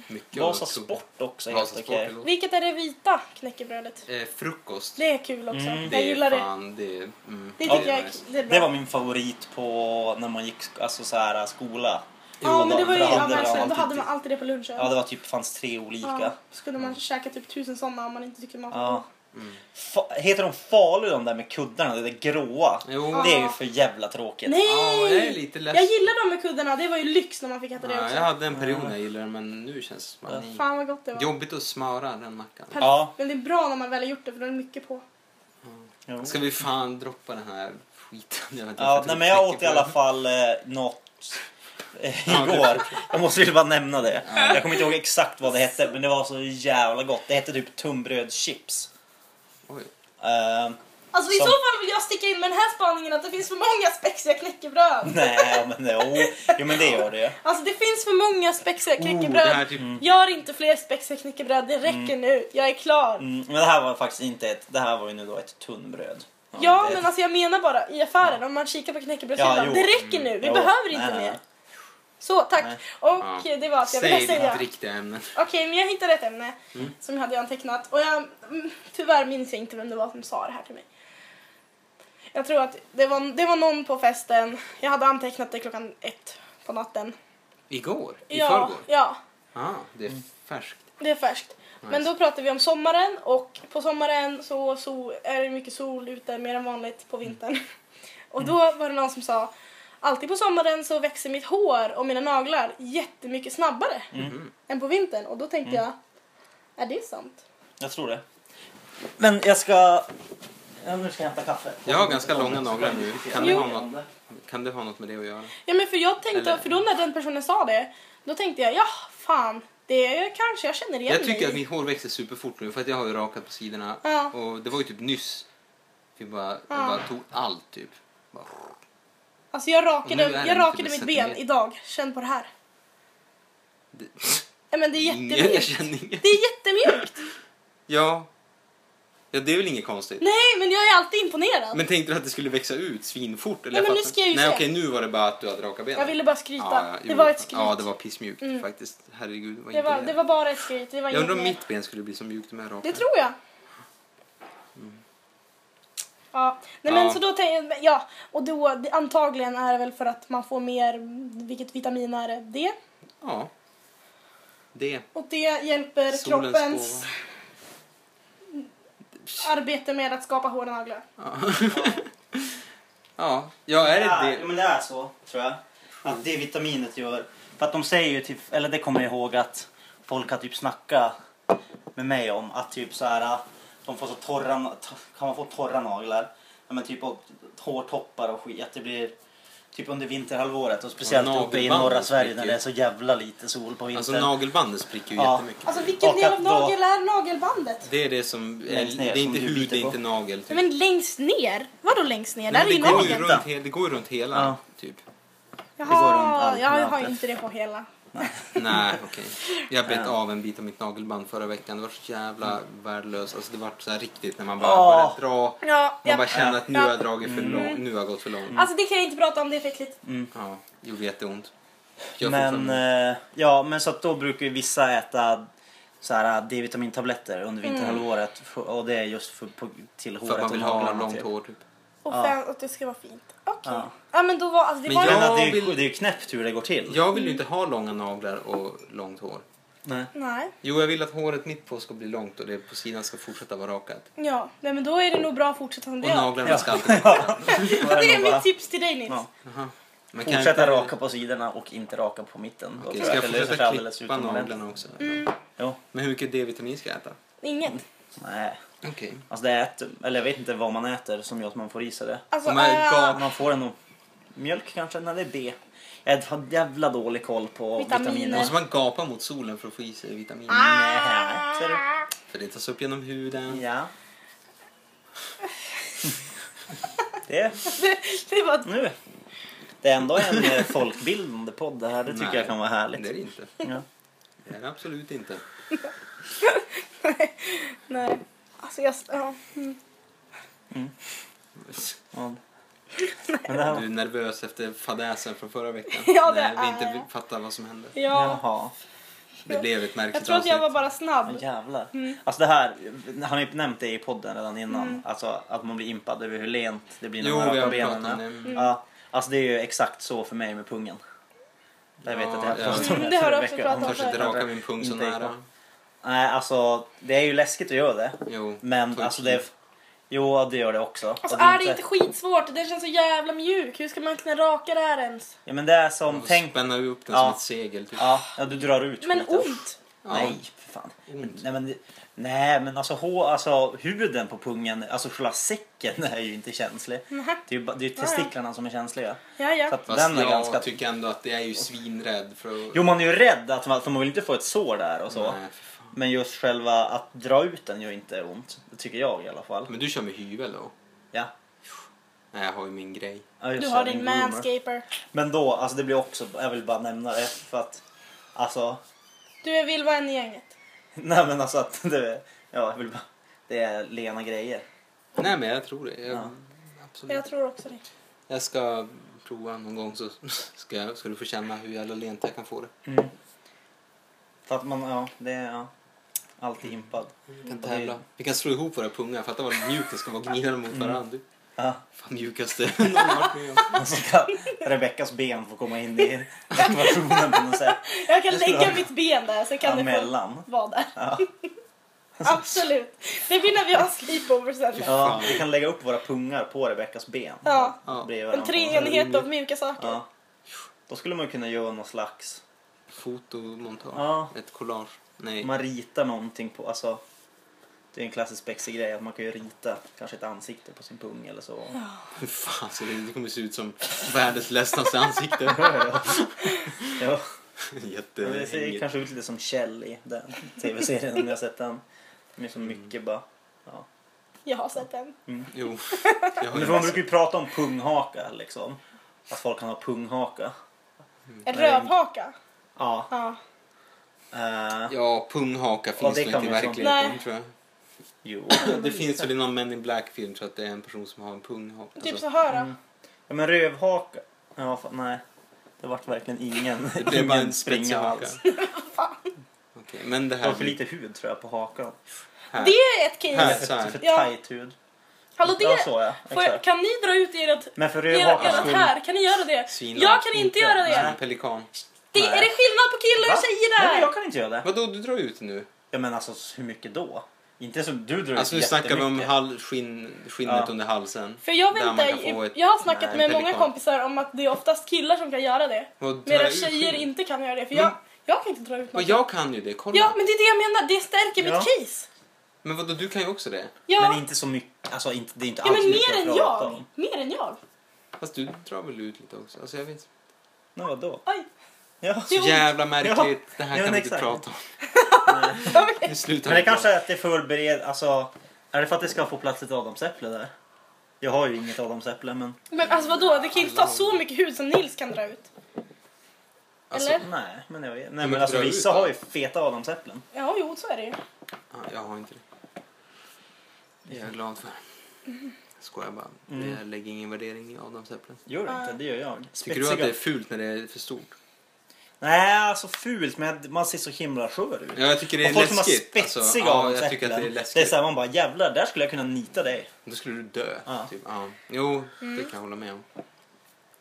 B: Mycket av
C: Vasa
B: det tog-
C: Sport också är
B: Vasa
C: helt
B: Sport,
C: okej.
B: förlåt.
A: Mm. Vilket är det vita knäckebrödet?
B: Eh, frukost.
A: Det är kul också.
C: Mm.
A: jag
B: Det är
A: gillar det.
B: fan, det. är- mm,
A: Det
B: det
A: tycker
B: är
A: jag är,
B: nice.
A: det är bra.
C: Det var min favorit på när man gick sk- alltså, så här, skola.
A: ja, men det var ju,
C: då
A: ja,
C: hade
A: men
C: man
A: så, då
C: alltid
A: hade
C: typ-
A: man alltid det på lunchen.
C: Ja, det var typ, fanns tre olika.
A: Ja, så kunde man käka typ tusen sådana om man inte tyckte man var
C: Ja.
A: ja.
B: Mm.
C: Fa- heter de Falu de där med kuddarna, det där gråa?
B: Jo,
A: Ja.
C: Det är ju för jävla tråkigt.
A: Nej!
B: Ja, jag är lite less.
A: jag gillar dem med kuddarna. Det var ju lyx när man fick äta det
B: ja,
A: också.
B: jag hade en period när jag gillade det men nu känns det som att... nej.
A: Fan vad gott det var.
B: Jobbigt att smöra den mackan.
A: Perfekt.
C: Ja.
A: Men det är bra när man väl har gjort det för då är det mycket på.
C: Jo.
B: Ska vi fan droppa den här skiten? Jag vet inte,
C: Ja,
B: tror
C: nej, men jag
B: tänker
C: åt
B: på
C: i alla
B: det.
C: fall eh, något eh,
B: Ja, det-
C: igår. Jag måste ju bara nämna det. Jag kommer inte ihåg exakt vad det hette, men det var så jävla gott. Det hette typ tunnbrödschips.
B: Oj.
C: Eh,
A: Alltså i
C: Som-
A: så fall vill jag sticka in med den här spaningen att det finns för många spexiga knäckebröd.
C: nej, men det, oh, jo, men det gör det ju.
A: Alltså det finns för många spexiga
B: Oh, det här
A: knäckebröd.
B: är typ...
A: Gör inte fler spexiga knäckebröd, det räcker nu. Jag är klar.
C: Mm, men det här var faktiskt inte ett, det här var ju nu då ett tunnbröd.
A: Ja
C: det-
A: men alltså jag menar bara i affären om man kikar på knäckebrödshyllan.
C: Ja, jo.
A: det räcker nu, vi
C: Jo.
A: behöver
C: Nej,
A: inte
C: nej,
A: mer.
C: nej.
A: Så tack.
C: Nej.
B: Ja.
A: Och det var allt jag ville
B: Säg
A: säga.
B: ditt riktiga ämne.
A: Okej, men jag hittade ett ämne som jag hade antecknat. Och jag, mm, tyvärr minns jag inte vem det var som sa det här till mig. Jag tror att det var, det var någon på festen. Jag hade antecknat det klockan ett på natten.
B: Igår? I
A: ja,
B: förrgår?
A: ja,
B: Ah, det är färskt.
A: det är färskt. Men då pratade vi om sommaren och på sommaren så, så är det mycket sol ute mer än vanligt på vintern.
B: Mm.
A: Och då var det någon som sa Alltid på sommaren så växer mitt hår och mina naglar jättemycket snabbare
B: Mm.
A: än på vintern. Och då tänkte jag, är det sant?
C: Jag tror det. Men jag ska... Ja, nu ska jag hämta kaffe.
B: Jag har ganska långa naglar nu. Kan det,
A: Jo.
B: ha något, kan det ha något med det att göra?
A: Ja men för jag tänkte,
B: Eller-
A: för då när den personen sa det, då tänkte jag ja fan, det är kanske jag känner igen
B: Jag tycker att
A: mig.
B: mitt hår växer superfort nu för att jag har ju rakat på sidorna.
A: Ja.
B: Och det var ju typ nyss. Vi bara, jag bara tog allt typ. Bara,
A: Alltså jag
B: Och nu är
A: rakade,
B: det
A: jag
B: inte
A: rakade mitt
B: bestämt.
A: ben idag, känn på det här.
B: det,
A: Ja men det är
B: ingen, jag
A: jättemjukt.
B: känner ingen.
A: Det är jättemjukt!
B: Ja. ja, det är väl inget konstigt.
A: Nej men jag är alltid imponerad.
B: Men tänkte du att det skulle växa ut svinfort? Eller
A: Nej,
B: Jag
A: men nu
B: fattar-
A: ska jag ju
B: Nej
A: se.
B: okej, nu var det bara att du hade raka benen.
A: Jag ville bara skryta.
B: Ja, ja,
A: det
B: jo,
A: var ett skryt.
B: Ja, det var pissmjukt
A: Mm.
B: faktiskt. Herregud, vad
A: det, var,
B: imponerande.
A: det var bara ett skryt, det var
B: Jag
A: inget
B: undrar om
A: mer.
B: mitt ben skulle bli så mjukt med raka.
A: Det tror jag. Ja, nej men
B: Ja.
A: så då tänker jag, ja, och då det, antagligen är det väl för att man får mer, vilket vitamin är det? D?
B: Ja. Det.
A: Och det hjälper
B: Solens
A: kroppens
B: gåva.
A: arbete med att skapa hårda naglar.
B: Ja. ja. ja, är det
C: Ja,
B: det?
C: men det är så, tror jag. Att det vitaminet gör. För att de säger ju, typ, eller det kommer jag ihåg att folk har typ snackat med mig om att typ så här, de får så torra, t- kan man få torra naglar? Ja, men typ och hårtoppar och skit. Att det blir typ under vinterhalvåret och speciellt
B: Ja,
C: uppe i
B: nagelbanden
C: norra Sverige när
B: spricker.
C: det är så jävla lite sol på
B: Alltså
C: vintern.
B: nagelbandet spricker ju
C: Ja.
B: jättemycket.
A: Alltså vilken
C: Och
A: del
C: att
A: av
C: då-
A: nagel är nagelbandet?
B: Det är det som,
C: Längst ner
B: det är
C: som
B: inte
C: du
B: hud,
C: biter
B: det är
C: på.
B: inte nagel. Typ.
A: Nej, Men längst ner? Vadå längst ner?
B: Nej,
A: Där är ju
B: det, går ju
A: nageln.
B: runt, he- det går ju runt hela,
C: Ja.
B: typ.
C: går runt
A: Jaha,
C: allt
A: jag har
C: mötet.
A: ju inte det på hela.
B: Nej, okej. Jag bet av en bit av mitt nagelband förra veckan. Det var så jävla
C: Mm.
B: värdelöst. Alltså det var så här riktigt när man bara
C: Åh.
B: började dra.
A: Ja,
B: Man
A: jag,
B: bara känner att nu
A: Ja.
B: har jag dragit för långt,
C: Mm.
B: nu har jag gått för långt.
A: Alltså det kan jag inte prata om, det är för äckligt.
B: Ja, gjorde jätteont. Gör
C: Men,
B: fortfarande.
C: eh, ja, men så att då brukar ju vissa äta så här eh, D-vitamintabletter under vinterhalvåret och det är just för, på, till håret
B: för att man
C: och
B: vill ha
C: naglarna,
B: långt
C: typ.
B: hår typ.
A: Och
C: Ja.
A: fan, att det ska vara fint. Okej.
C: Ja.
A: Ja. men då var, alltså det
B: Men
A: var
C: Jag menar,
B: jag-
C: det, är ju,
B: vill-
C: det är ju knäppt hur det går till.
B: Jag vill ju inte ha långa naglar och långt hår.
C: Nej.
A: Nej.
B: Jo, jag vill att håret mitt på ska bli långt och det på sidan ska fortsätta vara rakat.
A: Ja, nej men då är det nog bra att fortsätta som
B: Och
A: det är.
B: naglarna
C: Ja.
B: ska alltid...
A: Det är
C: Bara-
A: mitt tips till dig Nils.
C: Ja.
B: Aha. Man kan
C: Fortsätta
B: inte-
C: raka på sidorna och inte raka på mitten. Då
B: Okej,
C: tror
B: Ska jag
C: att det löser sig
B: fortsätta
C: alldeles
B: klippa
C: utomordentligt.
B: naglarna också?
A: Mm.
C: Jo.
B: Men hur mycket D-vitamin ska jag äta?
A: Inget.
C: Nej.
B: Okej.
C: Alltså det är ett, eller jag vet inte vad man äter som gör att man får i sig det.
A: Alltså,
B: Oh my
A: äh,
B: God.
C: Man får det nog. Mjölk kanske? Nej, det är B. Jag har jävla dålig koll på
A: Vitaminer.
C: vitaminer.
B: Måste man gapa mot solen för att få i sig vitaminer?
A: Ah.
C: Nej, ser du?
B: För det tas upp genom huden.
C: Ja. Det,
A: det, det var
C: nu. Det är ändå en eh, folkbildande podd det här. Det tycker
B: Nej,
C: jag kan vara härligt.
B: Det är det inte.
C: Ja.
B: Det är det absolut inte.
A: Nej. Alltså jag... Ja. Mm.
C: Ja. Men det här
B: Du är nervös efter fadäsen från förra veckan.
A: Ja, det
B: När vi
A: är
B: inte
A: jag.
B: fattar vad som hände.
A: Ja.
C: Jaha.
B: Det blev ett märkligt
A: Jag tror att jag var bara
C: Ja,
A: snabb.
C: jävlar.
A: Mm.
C: Alltså det här, han har ju nämnt det i podden redan innan. Alltså att man blir impad över hur lent det blir när
B: Jo,
C: man
B: vi
C: rör
B: har
C: på
B: pratat om
C: benen.
B: det. Mm.
C: Ja, alltså det är ju exakt så för mig med pungen. Jag vet
B: Ja,
C: att
B: ja.
C: jag har pratat om
A: Mm,
C: det
A: det har
C: förra
A: du också
C: veckan.
B: Jag
A: pratat
B: törs
A: om.
B: inte raka min pung så
C: Inte
B: nära.
C: Nej, alltså det är ju läskigt att göra det.
B: Jo,
C: Men
B: fullt
C: alltså det... Jo, det gör det också.
A: Alltså
C: Och det
A: är det inte skitsvårt? Den känns så jävla mjuk. Hur ska man kunna raka det här ens?
C: Ja, men det är
B: Man
C: som...
B: får
C: Tänk...
B: Spänna upp den
C: Ja.
B: som ett segel. Typ.
C: Ja, ja, du drar ut
A: Men
C: skiten.
A: ont!
B: Ja.
C: Nej, för fan.
B: Ont.
C: Nej men, nej, men alltså, hå, alltså huden på pungen, alltså själva säcken är ju inte känslig. Det är ju ba- det är ju testiklarna som är känsliga.
A: Ja,
C: Så
A: ja.
C: att
B: Fast
C: den är
B: jag
C: ganska...
B: tycker ändå att jag är ju svinrädd för att...
C: Jo, man är ju rädd att man, för man vill inte få ett sår där och så.
B: Nej, för fan.
C: Men just själva att dra ut den gör inte ont. Det tycker jag i alla fall.
B: Men du kör med hyvel då?
C: Ja.
B: Nej, jag har ju min grej.
C: Ja, just
A: Du
C: det,
A: har din
C: groomer.
A: manscaper.
C: Men då, alltså det blir också, jag vill bara nämna det för att, alltså,
A: Du är vill vara en i gänget.
C: nej men alltså att det, ja jag vill bara, det är lena grejer.
B: Nej, men jag tror det. Jag,
C: Ja.
B: Absolut.
A: Jag tror också det.
B: Jag ska prova någon gång så ska, jag, ska du få känna hur jävla lent jag kan få det.
C: För att man, ja, det är, ja, alltid impad.
B: Vi kan tävla.
C: Mm.
B: Vi kan slå ihop våra pungar. Fatta vad mjukt det ska vara. Gnida dem mot varandra. Du,
C: Ja.
B: fan mjukaste någon har varit med om.
C: Och så ska Rebeckas ben få komma in i ekvationen på något sätt.
A: Jag kan
C: Jag skulle
A: lägga
C: ha-
A: mitt ben där så
C: Ja,
A: kan det få
C: mellan.
A: vara där.
C: Ja.
A: Absolut. Det blir när vi har sleepover sen. då.
C: Ja, vi kan lägga upp våra pungar på Rebeckas ben.
A: Ja.
B: Ja.
C: Bredvid
A: En
C: varandra.
A: treenhet av mjuka saker.
C: Ja. Då skulle man ju kunna göra någon slags,
B: Fotomontage.
C: Ja.
B: Ett collage. Nej.
C: man ritar någonting på, alltså. Det är en klassisk spexig grej att man kan ju rita kanske ett ansikte på sin pung eller så.
B: Hur fan ser det ut? Det kommer se ut som världens ledsnaste ansikte.
C: Ja, det ser
B: Jättehängigt.
C: kanske ut lite som Kjell i den tv-serien om jag har sett den. Det är så
B: Mm.
C: mycket bara. Ja.
A: Jag har sett den.
B: Jo. Jag har
C: Men
B: ju
C: man
B: massa-
C: brukar ju prata om punghaka liksom. Att folk kan ha punghaka.
A: En rövhaka.
C: Ja.
A: Ja.
C: Eh,
B: Ja, punghaka
C: Ja,
B: finns
C: det
B: väl
C: kan
B: inte i
C: man ju
B: verkligheten
A: Nej.
B: tror jag.
C: jo.
B: Det finns väl i någon Men in Black-film tror jag att det är en person som har en punghaka.
A: Typ
B: Alltså,
A: så här då.
C: Mm. Ja, men rövhaka. Ja, fan, nej. Det vart verkligen ingen,
B: det blev bara en
C: ingen springa
B: spetsig haka.
C: alls.
B: Okej, men det
C: Det var
B: här...
C: för lite hud tror jag på hakan.
B: Här.
A: Det är ett
B: Här.
A: case.
C: För,
B: så
C: för
A: Ja.
C: tajt hud.
A: Hallå
C: Ja,
A: det...
C: så ja.
A: Får jag,
C: Exakt.
A: kan ni dra ut ert,
C: Men för
A: ert,
C: rövhakan
A: ert
C: skulle...
A: här? Kan ni göra det?
B: Svinlångt.
A: Jag kan inte
C: Inte.
A: göra
B: Som en
A: det.
B: pelikan.
A: det
C: Nej.
A: är det skillnad på killar
C: Va?
A: och tjejer
C: Nej, men
A: där?
C: jag kan inte göra det.
B: Vadå, du drar ut det nu?
C: Ja, men alltså hur mycket då? Inte som du drar
B: Alltså nu
C: ut
B: snackar vi om
C: jättemycket.
B: hall, skinn, skinnet
C: Ja.
B: under halsen.
A: För jag
B: Där man kan
A: väntar,
B: få
A: ju-
B: ett-
A: jag har snackat
B: Nej,
A: med
B: pelikan.
A: många kompisar om att det är oftast killar som kan göra det.
B: Vad drar
A: Medan
B: ut
A: tjejer
B: skinnet?
A: inte kan göra det. För
B: Men-
A: jag, jag kan inte dra ut
B: Ja,
A: något.
B: jag kan ju det, kolla.
A: Ja, men det är det jag menar. Det stärker
C: Ja.
A: mitt case.
B: Men vadå, du kan ju också det.
A: Ja,
C: Men inte så mycket. Alltså inte, det är inte
A: ja
C: alls
A: men
C: mycket
A: mer
C: att
A: än
C: prata
A: jag.
C: om.
A: Mer än jag.
B: Fast du drar väl ut lite också? Alltså jag vet
C: Men vadå?
A: Oj.
C: Ja.
B: Så
A: Jo.
B: jävla märkligt. Det här
C: Ja,
B: kan
C: men
B: vi inte
C: exakt.
B: prata om.
A: Okej.
B: Nu slutar
C: Men det
B: vi prata.
C: kanske är att det förbered, alltså är det för att det ska få plats ett adamsäpple där? Jag har ju inget adamsäpple men
A: Men alltså vadå? Det kan ju inte ta så mycket hud som Nils kan dra ut.
B: Alltså,
A: Eller?
C: nej, men jag vet. Nej
B: men
C: men alltså
B: dra ut
C: vissa
B: då.
C: har ju feta adamsäpplen.
A: Ja, jo, så är det ju.
B: Ja, jag har inte det. Det är jag glad för. Skojar bara.
C: Mm.
B: Jag lägger ingen värdering i adamsäpplen.
C: Gör det
A: Ja.
C: inte, det gör jag.
B: Tycker du att det är fult när det är för stort?
C: Nej, alltså fult men man ser så himla skör ut.
B: Ja, jag tycker det är
C: Och folk som har
B: läskigt. Alltså,
C: spetsiga
B: ja, jag tycker
C: adamsäpplen.
B: att det är
C: det är
B: läskigt.
C: så här, man bara jävlar, där skulle jag kunna nita dig.
B: Då skulle du dö.
C: Ja.
B: Typ. Ja. Jo, det kan jag hålla med om.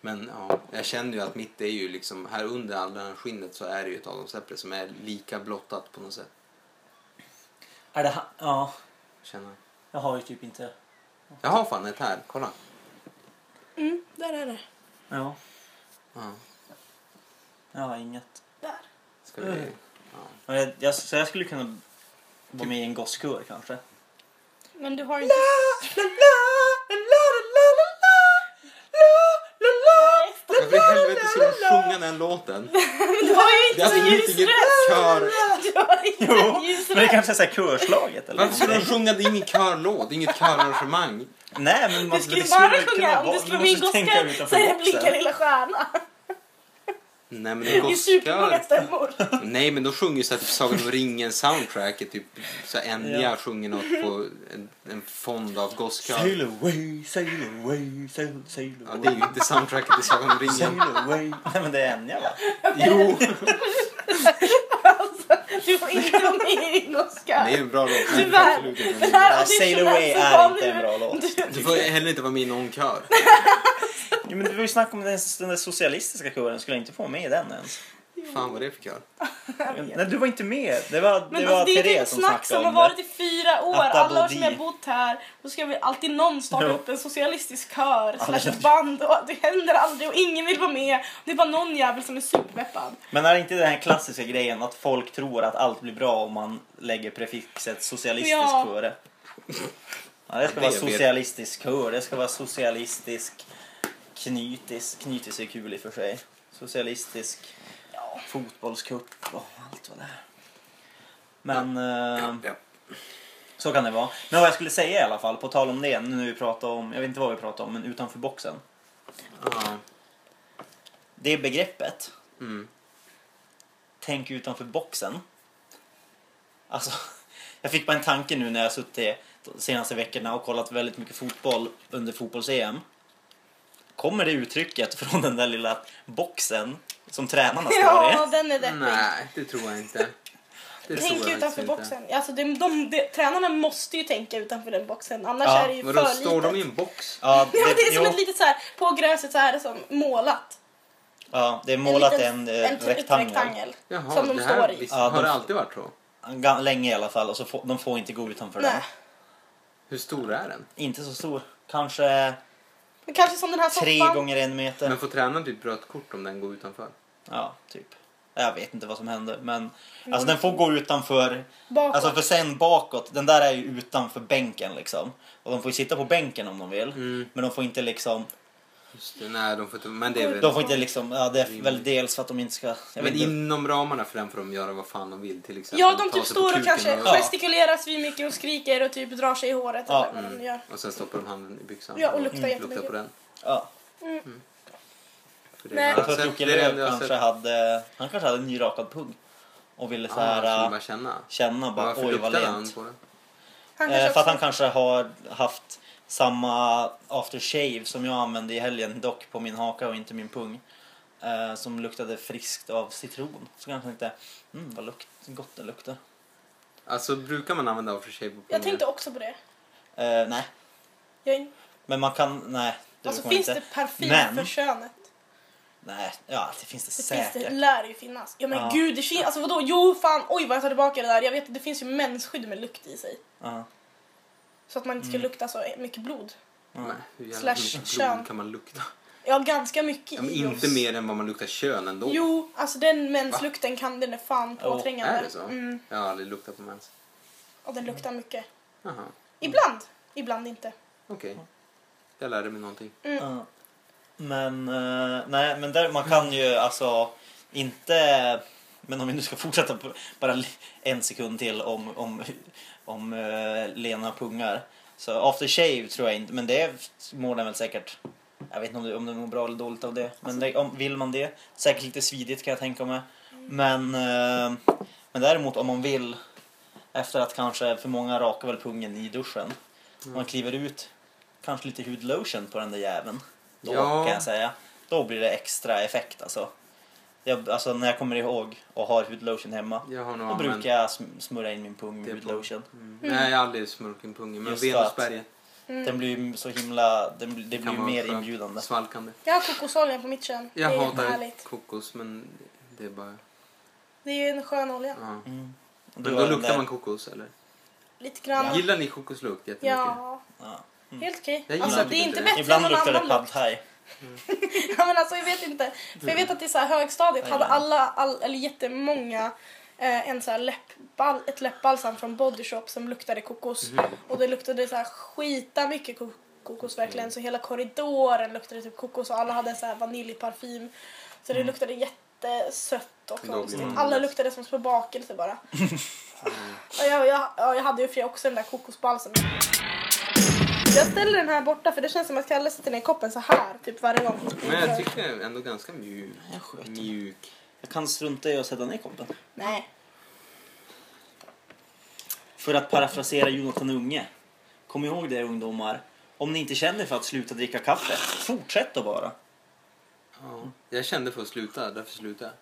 B: Men ja, jag känner ju att mitt är ju liksom, här under alla skinnet så är det ju ett adamsäpple som är lika blottat på något sätt.
C: Är det ha- ja,
B: Känner. jag.
C: jag har ju typ inte.
B: Jag har fan ett här, kolla.
A: Mm, där är det.
C: Ja,
B: Ja.
C: jag har inget.
A: Där.
B: Ska vi...
C: Mm.
B: Ja.
C: Men jag, jag, så jag skulle kunna vara med i en gosskör kanske.
A: Men du har inte...
B: Varför i helvete ska de sjunga den låten?
A: Men du har ju inte
B: Det är
A: så
B: absolut
A: ljus
B: inget
A: röst.
B: kör.
A: Du har inte
C: Jo,
A: en ljus
C: men det
A: röst.
C: kanske är så här körslaget eller
B: Varför ska de sjunga? Det är ingen körlåt, inget körarrangemang.
C: Nej, men man
A: Du skulle
C: det
A: bara
C: väl kunna
A: sjunga om
C: vara-
A: du
C: man
A: slår min
C: måste tänka
A: gosskör så
C: utanför
A: är det
C: boxen.
A: Blinka lilla stjärna.
B: Nej men
A: Det
B: det
A: är supermånga
B: kostar.
A: stämmor.
B: Nej men de sjunger så här, typ Sagan om ringen soundtracket. Typ så här, Enya
C: Ja.
B: sjunger något på en, en fond av gosskör.
C: Sail away, sail away, sail, sail
B: Ja,
C: away.
B: det är ju inte soundtracket till Sagan om ringen.
C: Sail away. Nej men det är Enya va?
B: Jo!
A: Alltså, Du får inte vara med i
B: Det är
A: Oscar.
B: ju en bra låt. men
A: Tyvärr.
B: absolut inte en
A: Den
B: bra låt.
A: här
C: Nej, Äh,
A: auditionen
C: Sail Away
A: så
C: är
A: var
C: inte en bra låt.
B: Du får heller inte vara med i någon kör.
C: Jo, men det var ju snack om den, den där socialistiska kören. Skulle jag inte få med i den ens?
B: Fan vad det är för kör.
C: Nej, du var inte med. Det var,
A: Men
C: det var
A: alltså, det är ju
C: Therese
A: ett
C: som
A: snack som
C: snackade
A: har
C: om det.
A: varit i fyra år.
C: Atta
A: Alla år
C: Bodhi.
A: som jag bott här. Då ska vi alltid någon starta
C: Ja.
A: upp en socialistisk kör
C: Alla
A: slash
C: känner-
A: band. Och det händer aldrig och ingen vill vara med. Det är bara någon jävel som är superpeppad.
C: Men är det inte den här klassiska grejen att folk tror att allt blir bra om man lägger prefixet socialistisk
A: Ja.
C: före? Ja, det ska
B: Ja, det
C: vara
B: vet-
C: socialistisk kör. Det ska vara socialistisk knytis. Knytis är kul i och för sig. Socialistisk
A: Ja.
C: fotbollscup och allt vad det är. Men... eh,
B: Ja, ja.
C: Så kan det vara. Men vad jag skulle säga i alla fall, på tal om det, nu när vi pratar om, jag vet inte vad vi pratar om, men utanför boxen.
B: Ja.
C: Det begreppet,
B: Mm.
C: tänk utanför boxen. Alltså, jag fick bara en tanke nu när jag suttit de senaste veckorna och kollat väldigt mycket fotboll under fotbolls-EM. Kommer det uttrycket från den där lilla boxen som tränarna står i?
A: Ja, den är deppig.
B: Nej, det tror jag inte. Det tror jag
A: Tänk
B: faktiskt
A: utanför
B: inte.
A: boxen. Alltså, de, de, de, tränarna måste ju tänka utanför den boxen. Annars
C: Ja,
A: är det ju
B: Vadå,
A: för
B: står
A: litet.
B: de i en box?
C: Ja,
A: Ja, det är som
C: jo,
A: ett litet så här, på gräset så här som målat.
C: ja, det är målat
A: liten-
C: en, eh,
A: typ
C: rektangel.
A: rektangel
B: Jaha,
A: som de
B: det här
A: står i.
B: visst-
C: Ja,
B: har
C: de-
B: det alltid varit så?
C: Ga- Länge i alla fall, och så får, de får inte gå utanför den.
A: Nej.
B: Hur stor är den?
C: Inte så stor. Kanske
A: Men kanske som den här
C: tre
A: soffan.
C: gånger en meter.
B: Men får tränaren typ rött kort om den går utanför?
C: Ja, typ. Jag vet inte vad som händer. Men alltså, den får gå utanför.
A: Bakåt.
C: Alltså för sen bakåt. Den där är ju utanför bänken liksom. Och de får ju sitta på bänken om de vill.
B: Mm.
C: Men de får inte liksom.
B: Just det, nej, de får inte... Men det är väl...
C: De får inte liksom. Ja, det är väl dels för att de inte ska. Jag vet
B: Mm. Men
C: inte.
B: inom ramarna för den får de göra vad fan de vill till exempel.
A: Ja, de
B: Ta
A: typ
B: sig på
A: står och
B: kuken
A: kanske
C: Ja.
A: gestikulerar svinmycket och skriker och typ drar sig i håret
C: Ja.
A: eller vad de gör.
B: Och sen stoppar de handen i byxan. Mm.
A: Ja, och luktar
B: luktar
A: jättemycket.
B: på den.
C: Ja.
B: För det är-
A: Nej.
B: Ja,
C: Jag tror att
B: sen-
C: Jocke
B: det är det
C: Lööf
B: enda jag har
C: kanske
B: sett.
C: hade. Han kanske hade en nyrakad pung. Och ville så
B: Ja, så
C: här. äh,
B: vill man känna.
C: känna
B: Men
C: bara
B: Varför
C: oj vad
B: luktar han
C: lent.
B: på den?
A: Han kanske
C: Eh, för att
A: också-
C: han kanske har haft samma aftershave som jag använde i helgen, dock på min haka och inte min pung. Eh, som luktade friskt av citron. Så kanske han tänkte, mm vad lukt, gott det luktar.
B: Alltså brukar man använda aftershave på
A: Jag
B: pungen?
A: tänkte också på det.
C: Eh, nej,
A: Jag...
C: men man kan, nej. Det
A: Alltså
C: brukar man
A: finns
C: inte.
A: det parfym
C: Men-
A: för könet?
C: Nej, ja det finns det,
A: Det, finns
C: säkert.
A: det lär ju finnas. Ja men
C: Ja.
A: gud, det finns... Alltså vadå? Jo fan, oj vad jag tar tillbaka det där. Jag vet att det finns ju mensskydd med lukt i sig.
C: Ja.
A: Så att man inte ska
C: Mm.
A: lukta så mycket blod.
B: Nej, hur jävla
A: Slash
B: mycket
A: kön.
B: blod kan man lukta?
A: Ja, ganska mycket
B: Ja, men
A: i
B: inte
A: oss.
B: mer än vad man luktar kön ändå.
A: Jo, alltså den menslukten kan den är fan
C: Oh,
A: påträngande.
B: Är det så?
A: Mm,
B: Jag har aldrig luktat på mens.
A: och den
C: Mm.
A: luktar mycket.
B: Jaha,
A: Ibland, ibland inte.
B: okej. Jag lärde mig någonting.
C: Ja. Men, eh, nej, men där, man kan ju alltså inte... Men om vi nu ska fortsätta på- bara li- en sekund till om, om, om eh, Lena pungar. Så after shave tror jag inte, men det mår den väl säkert. Jag vet inte om det, om det mår bra eller dåligt av det. Men det, om, vill man det. Säkert lite svidigt kan jag tänka mig. Men, eh, men däremot om man vill efter att kanske, för många rakar väl pungen i duschen. Man kliver ut, kanske lite hudlotion på den där jäveln. Då
B: Ja.
C: kan jag säga. Då blir det extra effekt alltså. Jag, alltså när jag kommer ihåg och har hudlotion hemma.
B: Jag har nog
C: Då
B: använt
C: brukar jag sm- smörja in min pung med
B: det på-
C: hudlotion.
B: Mm. Nej, jag har aldrig smort in pungen. Men
C: Just för
B: venusberget
A: Mm.
C: Den blir ju så himla, den, blir- det blir
B: kan
C: ju
B: vara
C: mer
B: skönt.
C: inbjudande.
B: Svalkande.
A: Jag har kokosolja på mitt kön.
B: Jag
A: det är
B: hatar
A: härligt.
B: kokos, men det är bara...
A: Det är en skön olja.
B: Ja.
C: Mm. Du
B: Men
C: har eh,
B: då
C: den
B: luktar
C: där-
B: man kokos, eller?
A: Lite grann.
B: Gillar ni kokoslukt jättemycket?
A: Ja,
C: Ja.
A: helt okej.
B: Jag gillar
A: Alltså
B: typ
A: det är
B: inte
A: inte
B: det.
A: bättre
C: Ibland
A: än någon
C: luktar det
A: annan
C: pad
A: lukt.
C: thai.
A: Ja, men alltså, jag vet inte. För jag vet att i så här högstadiet hade alla, all, eller jättemånga, eh, en så här läppbal, ett läppbalsam från Body Shop som luktade kokos.
B: Mm.
A: Och det luktade så här skita mycket ko- kokos verkligen. Så hela korridoren luktade typ kokos och alla hade så här vaniljparfym. Så det luktade jättesött och
B: blir
A: konstigt.
B: man
A: Alla
B: lätt.
A: luktade som små bakelser bara. och jag, jag, ja, jag hade ju för jag också den där kokosbalsamen. Jag ställer den här borta för det känns som att Kalle sätter ner koppen så här typ varje gång.
B: Men jag tycker den är ändå ganska mjuk.
C: Jag sköter.
B: Mjuk.
C: Jag kan strunta i att sätta ner koppen.
A: Nej.
C: För att parafrasera Jonathan Unge. Kom ihåg det ungdomar. Om ni inte känner för att sluta dricka kaffe, fortsätt då bara.
B: Ja. Jag kände för att sluta, därför slutade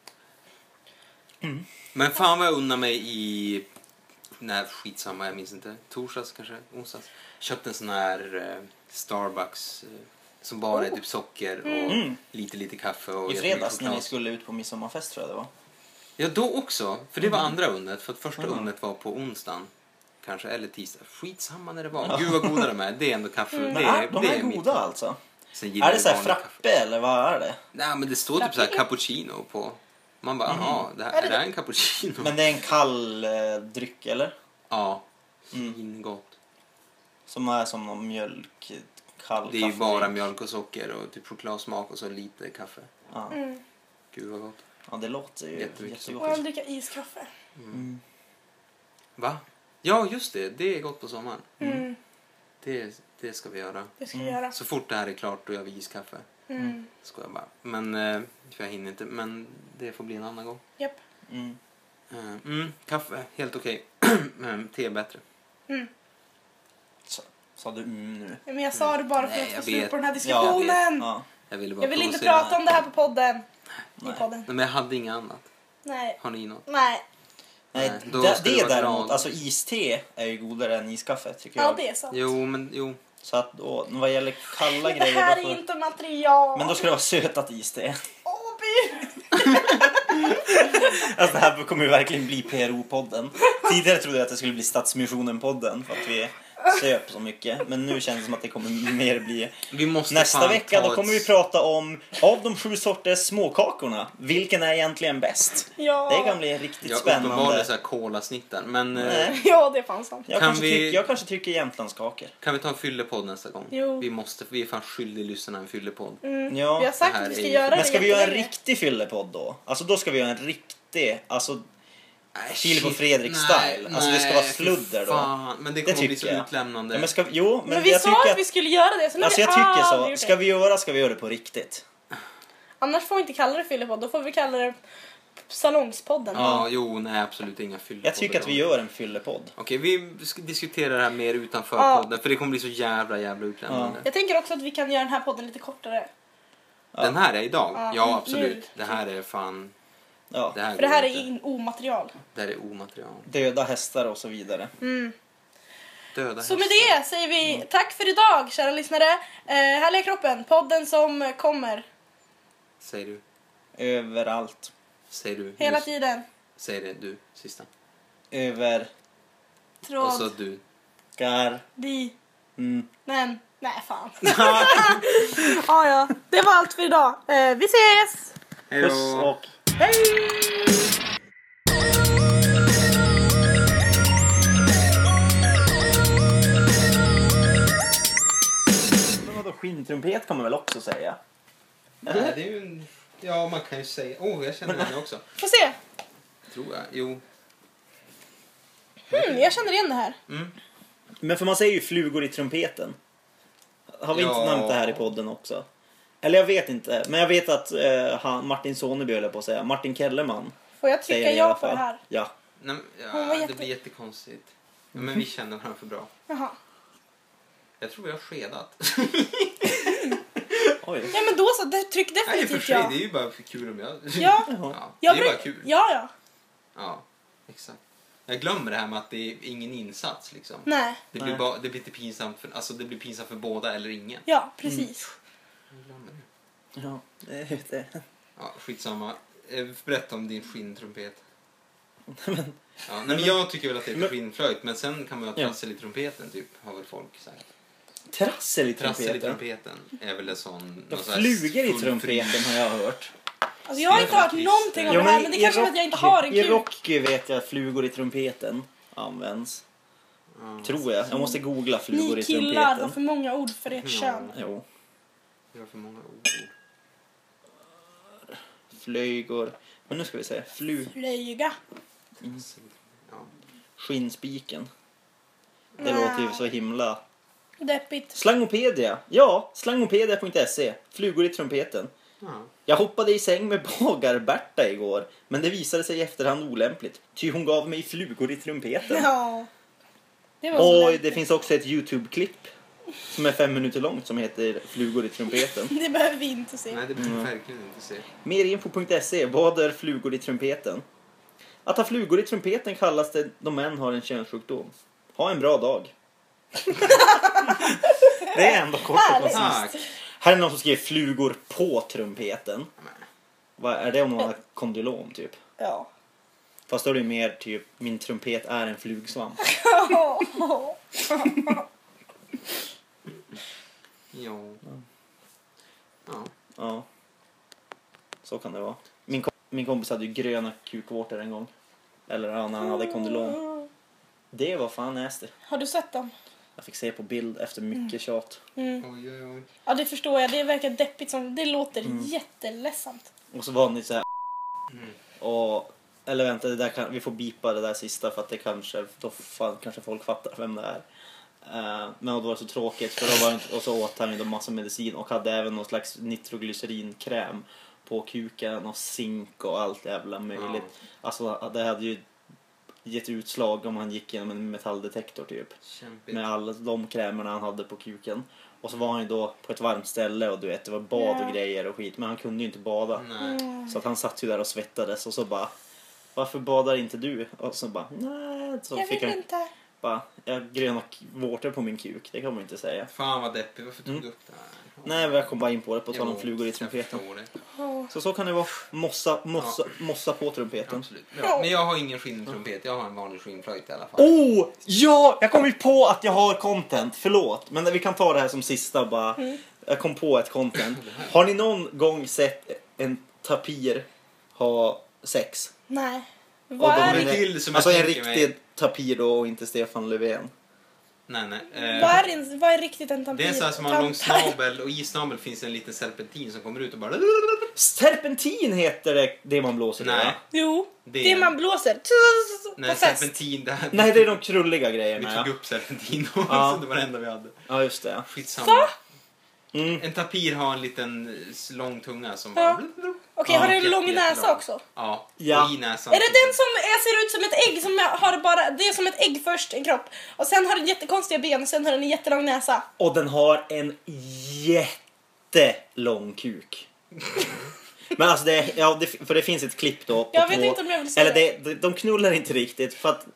B: jag.
C: Mm.
B: Men fan vad jag unnar mig i... Nej, skitsamma, jag minns inte. Torsdags kanske? Onsdags? Köpte en sån här eh, Starbucks eh, som bara är typ socker och lite, lite kaffe och
C: I
B: jättemycket
C: fredags när
B: choklad.
C: ni skulle ut på midsommarfest tror jag det var.
B: Ja, då också. För det var andra undret. För att första
C: Mm.
B: undret var på onsdagen. Kanske, eller tisdag. Skitsamma när det var. Gud vad goda de är. Det är ändå kaffe. Det,
C: Mm. Men är, de
B: det
C: är
B: mitt-
C: goda alltså.
B: Sen
C: Är
B: gillar
C: det
B: jag
C: så här
B: vanlig
C: frappe eller vad är det?
B: Nej, men det står typ så här cappuccino på. Man bara, jaha, det här, Mm. är det här en cappuccino?
C: Men det är en kall eh, dryck eller?
B: Ja. Mm. Svingott.
C: Som är som någon mjölk, kall
B: Det är ju
C: kaffe.
B: bara mjölk och socker och typ chokladsmak och så lite kaffe.
C: Ja.
A: Mm.
B: Gud vad gott.
C: ja, det låter ju
B: Jättemycket
A: Och jag
C: jättegott.
A: vill dricka iskaffe.
C: Mm.
B: Va? Ja, just det. Det är gott på sommaren.
A: Mm.
B: Det, det ska vi göra.
A: Det ska vi göra.
B: Så fort det här är klart då gör vi iskaffe.
A: Mm.
B: Ska jag bara. Men, eh, för jag hinner inte. Men det får bli en annan gång.
A: Japp.
C: Mm.
B: Eh, Mm, kaffe, helt okej. Men te är bättre.
C: Så, sa du mm nu?
A: Men jag sa det bara för
B: Nej,
A: att få
B: jag
A: slut
B: vet.
A: på den här
C: Ja,
A: diskussionen. jag,
C: Ja.
B: Jag ville bara
A: vill inte
B: provocera.
A: prata om det här på podden.
C: Nej.
A: I podden.
B: Nej, men jag hade inget annat.
A: Nej.
B: Har ni något?
A: Nej.
C: Nej,
B: Nej, då
C: det,
B: ska du
C: det
B: vara
C: däremot,
B: glad.
C: alltså iste är ju godare än iskaffe tycker
A: Ja,
C: jag.
A: det är sant.
B: Jo, men jo.
C: Så att då, vad gäller kalla
A: Men det
C: grejer
A: här
C: då får...
A: är inte material.
C: Men då ska det vara sötat iste.
A: Åh, by!
C: Alltså det här kommer ju verkligen bli PRO-podden. Tidigare trodde jag att det skulle bli Stadsmissionen-podden för att vi söp så mycket. Men nu känns det som att det kommer mer bli...
B: Vi måste
C: Nästa
B: fan
C: vecka
B: ta
C: då kommer
B: ett...
C: vi prata om av de sju sorters småkakorna, vilken är egentligen bäst?
A: Ja.
C: Det kan bli riktigt
B: Ja, uppenbarligen så
C: spännande.
B: här kolasnittar. Men eh,
C: Nej.
A: Ja, det är fan sant.
C: Jag,
B: Kan
C: kanske
B: vi-
C: tycker, jag kanske tycker jämtlandskakor.
B: kan vi ta en fyllepodd nästa gång?
A: Jo.
B: Vi måste, vi är fan skyldiga lyssnarna en fyllepodd.
A: Mm.
C: Ja,
A: vi har sagt
B: det här
A: att vi
B: är
A: ska
B: ju-
A: göra
C: Men ska
A: det
C: vi göra en
A: jättelänge.
C: riktig fyllepodd då? Alltså då ska vi göra en riktig, alltså
B: Nej,
C: Filip och
B: Äh, shit.
C: Fredrik
B: Nej,
C: style. Alltså, det ska
B: nej,
C: vara
B: fy
C: sludder då.
B: Fan. Men det
C: det
B: kommer bli så
C: tycker jag.
B: utlämnande.
C: Ja, men ska, vi- jo,
A: Men,
C: men,
A: vi
C: jag
A: sa
C: tycker
A: att,
C: att...
A: vi skulle Ah, göra det, så nu
C: Alltså jag
A: har vi
C: tycker
A: aldrig
C: så,
A: gjort
C: ska
A: det.
C: vi göra ska vi göra det på riktigt.
A: Annars får vi inte kalla det Fyllepodd, då får vi kalla det Salongspodden.
B: Ja, jo, nej, absolut inga fyllepoddar.
C: Jag tycker att vi
B: då.
C: gör en fyllepodd.
B: Okej, vi ska diskutera det här mer utanför
A: Ja.
B: podden för det kommer bli så jävla jävla utlämnande.
A: Jag tänker också att vi kan göra den här podden lite kortare.
C: Ja. Mm.
B: Den här är idag?
A: Ja,
B: Ja,
A: nu.
B: absolut. Det här är fan...
C: Ja.
B: Det här,
A: För det här
B: går
A: är
B: inte.
A: in omaterial.
B: Det här är omaterial.
C: Döda hästar och så vidare.
B: Döda
A: Så med
B: hästar.
A: det säger
C: Mm.
A: vi tack för idag kära lyssnare. Eh, härliga kroppen, podden som kommer
B: Säger du.
C: Överallt.
B: Säger du.
A: hela
B: Nu.
A: tiden.
B: Säg det du, sista.
C: Över...
B: Och så
C: Alltså-
A: Tråd,
B: du.
C: Gar...
A: di,
C: Mm.
A: men, nej fan. ja, ja, det var allt för idag. Eh, vi ses!
B: Hej
C: Puss
B: då!
C: och...
A: Hej!
C: Men vadå, skintrumpet kan man väl också säga?
B: Nej, det är ju en... Ja, man kan ju säga... Åh, jag känner henne också.
A: Få se.
B: Tror jag. Jo.
A: Hmm, jag känner igen det här.
C: Men för man säger ju flugor i trumpeten. Har vi
B: Ja.
C: inte nämnt det här i podden också? Eller jag vet inte. Men jag vet att eh, han, Martin Soneby höll jag på att säga. Martin Kellerman
A: Får jag
C: säger
A: trycka
C: det i alla
A: ja på
C: fall.
A: det här?
C: Ja.
B: Nej, men, ja,
A: Hon var jätte-
B: Det blir jättekonstigt. Ja, men vi känner varandra för bra.
A: Jaha.
B: Jag tror jag har skedat.
A: Alltså,
C: Oj.
A: Ja men då så, det- tryck
B: Nej, för
A: definitivt
B: sig, det är
A: ja.
B: ju bara för kul om jag...
A: typ Ja.
B: ja det
A: Jag
B: är ju bara
A: bruk-
B: kul.
A: Ja, ja.
B: Ja, exakt. Jag glömmer det här med att det är ingen insats liksom.
A: Nej.
B: Det blir,
C: Nej.
B: bara, det blir inte pinsamt för, alltså, det blir pinsamt för båda eller ingen.
A: Ja, precis.
B: Jag glömmer det.
C: Ja, det är det.
B: Ja, skitsamma. Eh, Berätta om din skinntrumpet. Ja, nej, men jag tycker väl att det heter
C: Men-
B: skinnflöjt, men sen kan man ju ha
C: Ja.
B: trassel i trumpeten, typ, har väl folk sagt.
C: Trassel i
B: Trassel i
C: trumpeten.
B: trumpeten är väl en sån...
C: Ja,
B: någon sån här
C: Flugor i
B: full-
C: trumpeten har jag hört.
A: Alltså, jag har inte hört
B: Stenhård
A: någonting om
B: kristen.
A: det här men det
C: i
A: kanske är för att jag inte
C: Rocky-
A: har en
C: I
A: kuk.
C: Rocky vet jag att flugor i trumpeten används.
B: Ja,
C: Tror jag. Jag måste googla flugor
A: Ni
C: i
A: killar har för
C: trumpeten.
A: många ord för ert
B: Ja.
A: kön.
C: Jo.
B: vi har för många ord.
C: Flöjgor. Men nu ska vi se. Flu...
A: Flöjga.
B: Trassel i trumpeten. Ja.
C: Skinnspiken. Det
A: Nej.
C: låter ju så himla...
A: Deppigt.
C: Slangopedia. Ja, slangopedia.se. Flugor i trumpeten.
B: Ja.
C: Jag hoppade i säng med Bagar-Berta igår, men det visade sig i efterhand olämpligt, ty hon gav mig flugor i trumpeten.
A: Ja. Det var så
C: Och
A: lätt.
C: det finns också ett YouTube-klipp som är fem minuter långt som heter Flugor i trumpeten.
A: Det behöver vi inte se.
C: Mm.
B: Nej, det behöver vi verkligen inte se.
C: E, Merinfo.se, vad är flugor i trumpeten? Att ha flugor i trumpeten kallas det då män har en könssjukdom. Ha en bra dag. det är ändå kort och
A: Härligt.
C: koncist.
B: Tack!
C: Här är någon som skriver flugor på trumpeten. Vad är det om man har kondylom typ?
A: Ja.
C: Fast då är det ju mer typ min trumpet är en flugsvamp.
B: Ja.
C: Mm.
B: Ja.
C: Ja. Så kan det vara. Min, kom- min kompis hade ju gröna kukvårtor en gång. Eller ja, när han hade kondylom. Det var fan nasty.
A: Har du sett dem?
C: Jag fick se på bild efter mycket tjat.
A: Mm.
B: Oj, oj, oj.
A: Ja, det förstår jag. Det verkar deppigt. Som, det låter
C: Mm.
A: jätteledsamt.
C: Och så var ni så här.
B: Mm.
C: Och, eller vänta, det där kan, vi får bipa det där sista för att det kanske, då fan, kanske folk fattar vem det är. Eh, men då var det så tråkigt för då var det, inte- och så åt han ju då massa medicin och hade även någon slags nitroglycerinkräm på kuken och zink och allt jävla möjligt. Alltså det hade ju gett utslag om han gick genom en metalldetektor typ
B: Kämpigt.
C: med alla de krämerna han hade på kuken. Och så var han ju då på ett varmt ställe och du vet det var bad
A: Ja. Mm.
C: och grejer och skit men han kunde ju inte bada.
B: Nej.
C: Så att han satt ju där och svettades och så bara Varför badar inte du? Och så bara nej Så
A: jag
C: fick
A: vill
C: han
A: inte.
C: bara Jag har gröna k- vårtor på min kuk, det kan man ju inte säga.
B: Fan vad deppigt. Varför tog
C: Mm.
B: du upp det här?
C: Nej men jag kom bara in på det på tal om
B: Jo,
C: flugor i
B: jag
C: trumpeten.
B: förstår det.
A: Åh.
C: Så så kan det vara. Mossa, mossa, mossa på trumpeten.
B: Absolut. Ja. Men jag har ingen skinntrumpet. Jag har en vanlig skinnflöjt i alla fall.
C: Oh! Ja! Jag kom ju på att jag har content. Förlåt. Men vi kan ta det här som sista bara. Jag kom på ett content. Har ni någon gång sett en tapir ha sex?
A: Nej.
C: Och
A: Vad
C: då
A: är,
B: blir
C: det-
B: till som jag
C: alltså en
B: tänker
C: riktig
B: mig.
C: tapir då och inte Stefan Löfven.
B: Nej, nej.
A: vad,
B: Eh,
A: är, en- vad är riktigt en
B: det
A: tampir?
B: är en sån här som har en lång
A: Tampir.
B: snabel och i snabel finns en liten serpentin som kommer ut och bara...
C: Serpentin heter det, det man blåser i va?
B: Nej,
A: Jo,
B: Det
A: det,
B: är-
A: man blåser.
B: nej
A: På fest.
B: serpentin. Det här,
C: Nej, det är de krulliga
B: Vi
C: grejerna.
B: tog
C: Ja.
B: upp serpentin också.
C: Ja.
B: Det var det enda vi hade.
C: ja, just det.
B: Skitsamma.
A: Va?
C: Mm.
B: En tapir har en liten eh, lång tunga som
A: Ja.
B: bara...
A: Okej,
C: Ja,
A: har du en
B: jätte-
A: lång näsa
B: jättelång.
A: också?
B: Ja,
C: Ja.
B: och i näsan. typ.
A: Är det den som är, ser ut som ett ägg? Som har bara, det är som ett ägg först, en kropp. Och sen har den jättekonstiga ben och sen har den en jättelång näsa.
C: Och den har en jättelång kuk. Men alltså det, ja, det, för det finns ett klipp då. På
A: Jag vet
C: två,
A: inte om jag vill se
C: Eller det, det, de knullar inte riktigt för att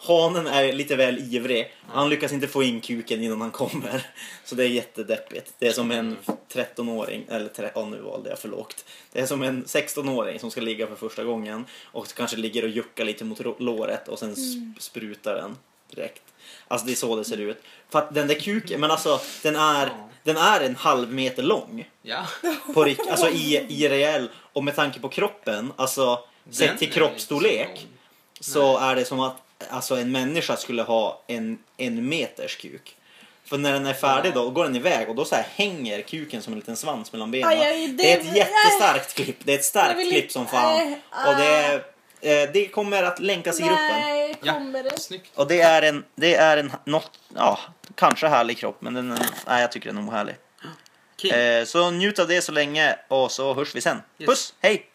C: hanen är lite väl ivrig. Han lyckas inte få in kuken innan han kommer. Så det är jättedeppigt. Det är som en 13-åring, eller tre, ja, nu valde jag för lågt. Det är som en 16-åring som ska ligga för första gången och kanske ligger och juckar lite mot rå- låret och sen
A: Mm.
C: sp- sprutar den direkt. Alltså det är så det ser ut. För att den där kuken, men alltså den är, den är en halv meter lång
B: Ja.
C: på rik, alltså i, i reell och med tanke på kroppen, alltså
B: Den
C: sett
B: är
C: till
B: inte
C: kroppsstorlek
B: så lång.
C: så är det som att alltså, en människa skulle ha en, en meters kuk. För när den är färdig då går den iväg och då så här hänger kuken som en liten svans mellan benen.
A: Aj, aj,
C: det...
A: det-
C: är ett jättestarkt klipp. Det är ett
A: Jag
C: starkt
A: vill
C: klipp
A: inte-
C: som fan.
A: Nej,
C: Och det, är, eh, det kommer att länkas i gruppen.
A: Nej, kommer
B: ja.
A: det?
B: Snyggt.
C: Och det är en, det är en något, ja, kanske härlig kropp men den, är- nej, jag tycker den är ohärlig.
B: King.
C: Eh, så njut av det så länge och så hörs vi sen.
B: Yes.
C: Puss, hej!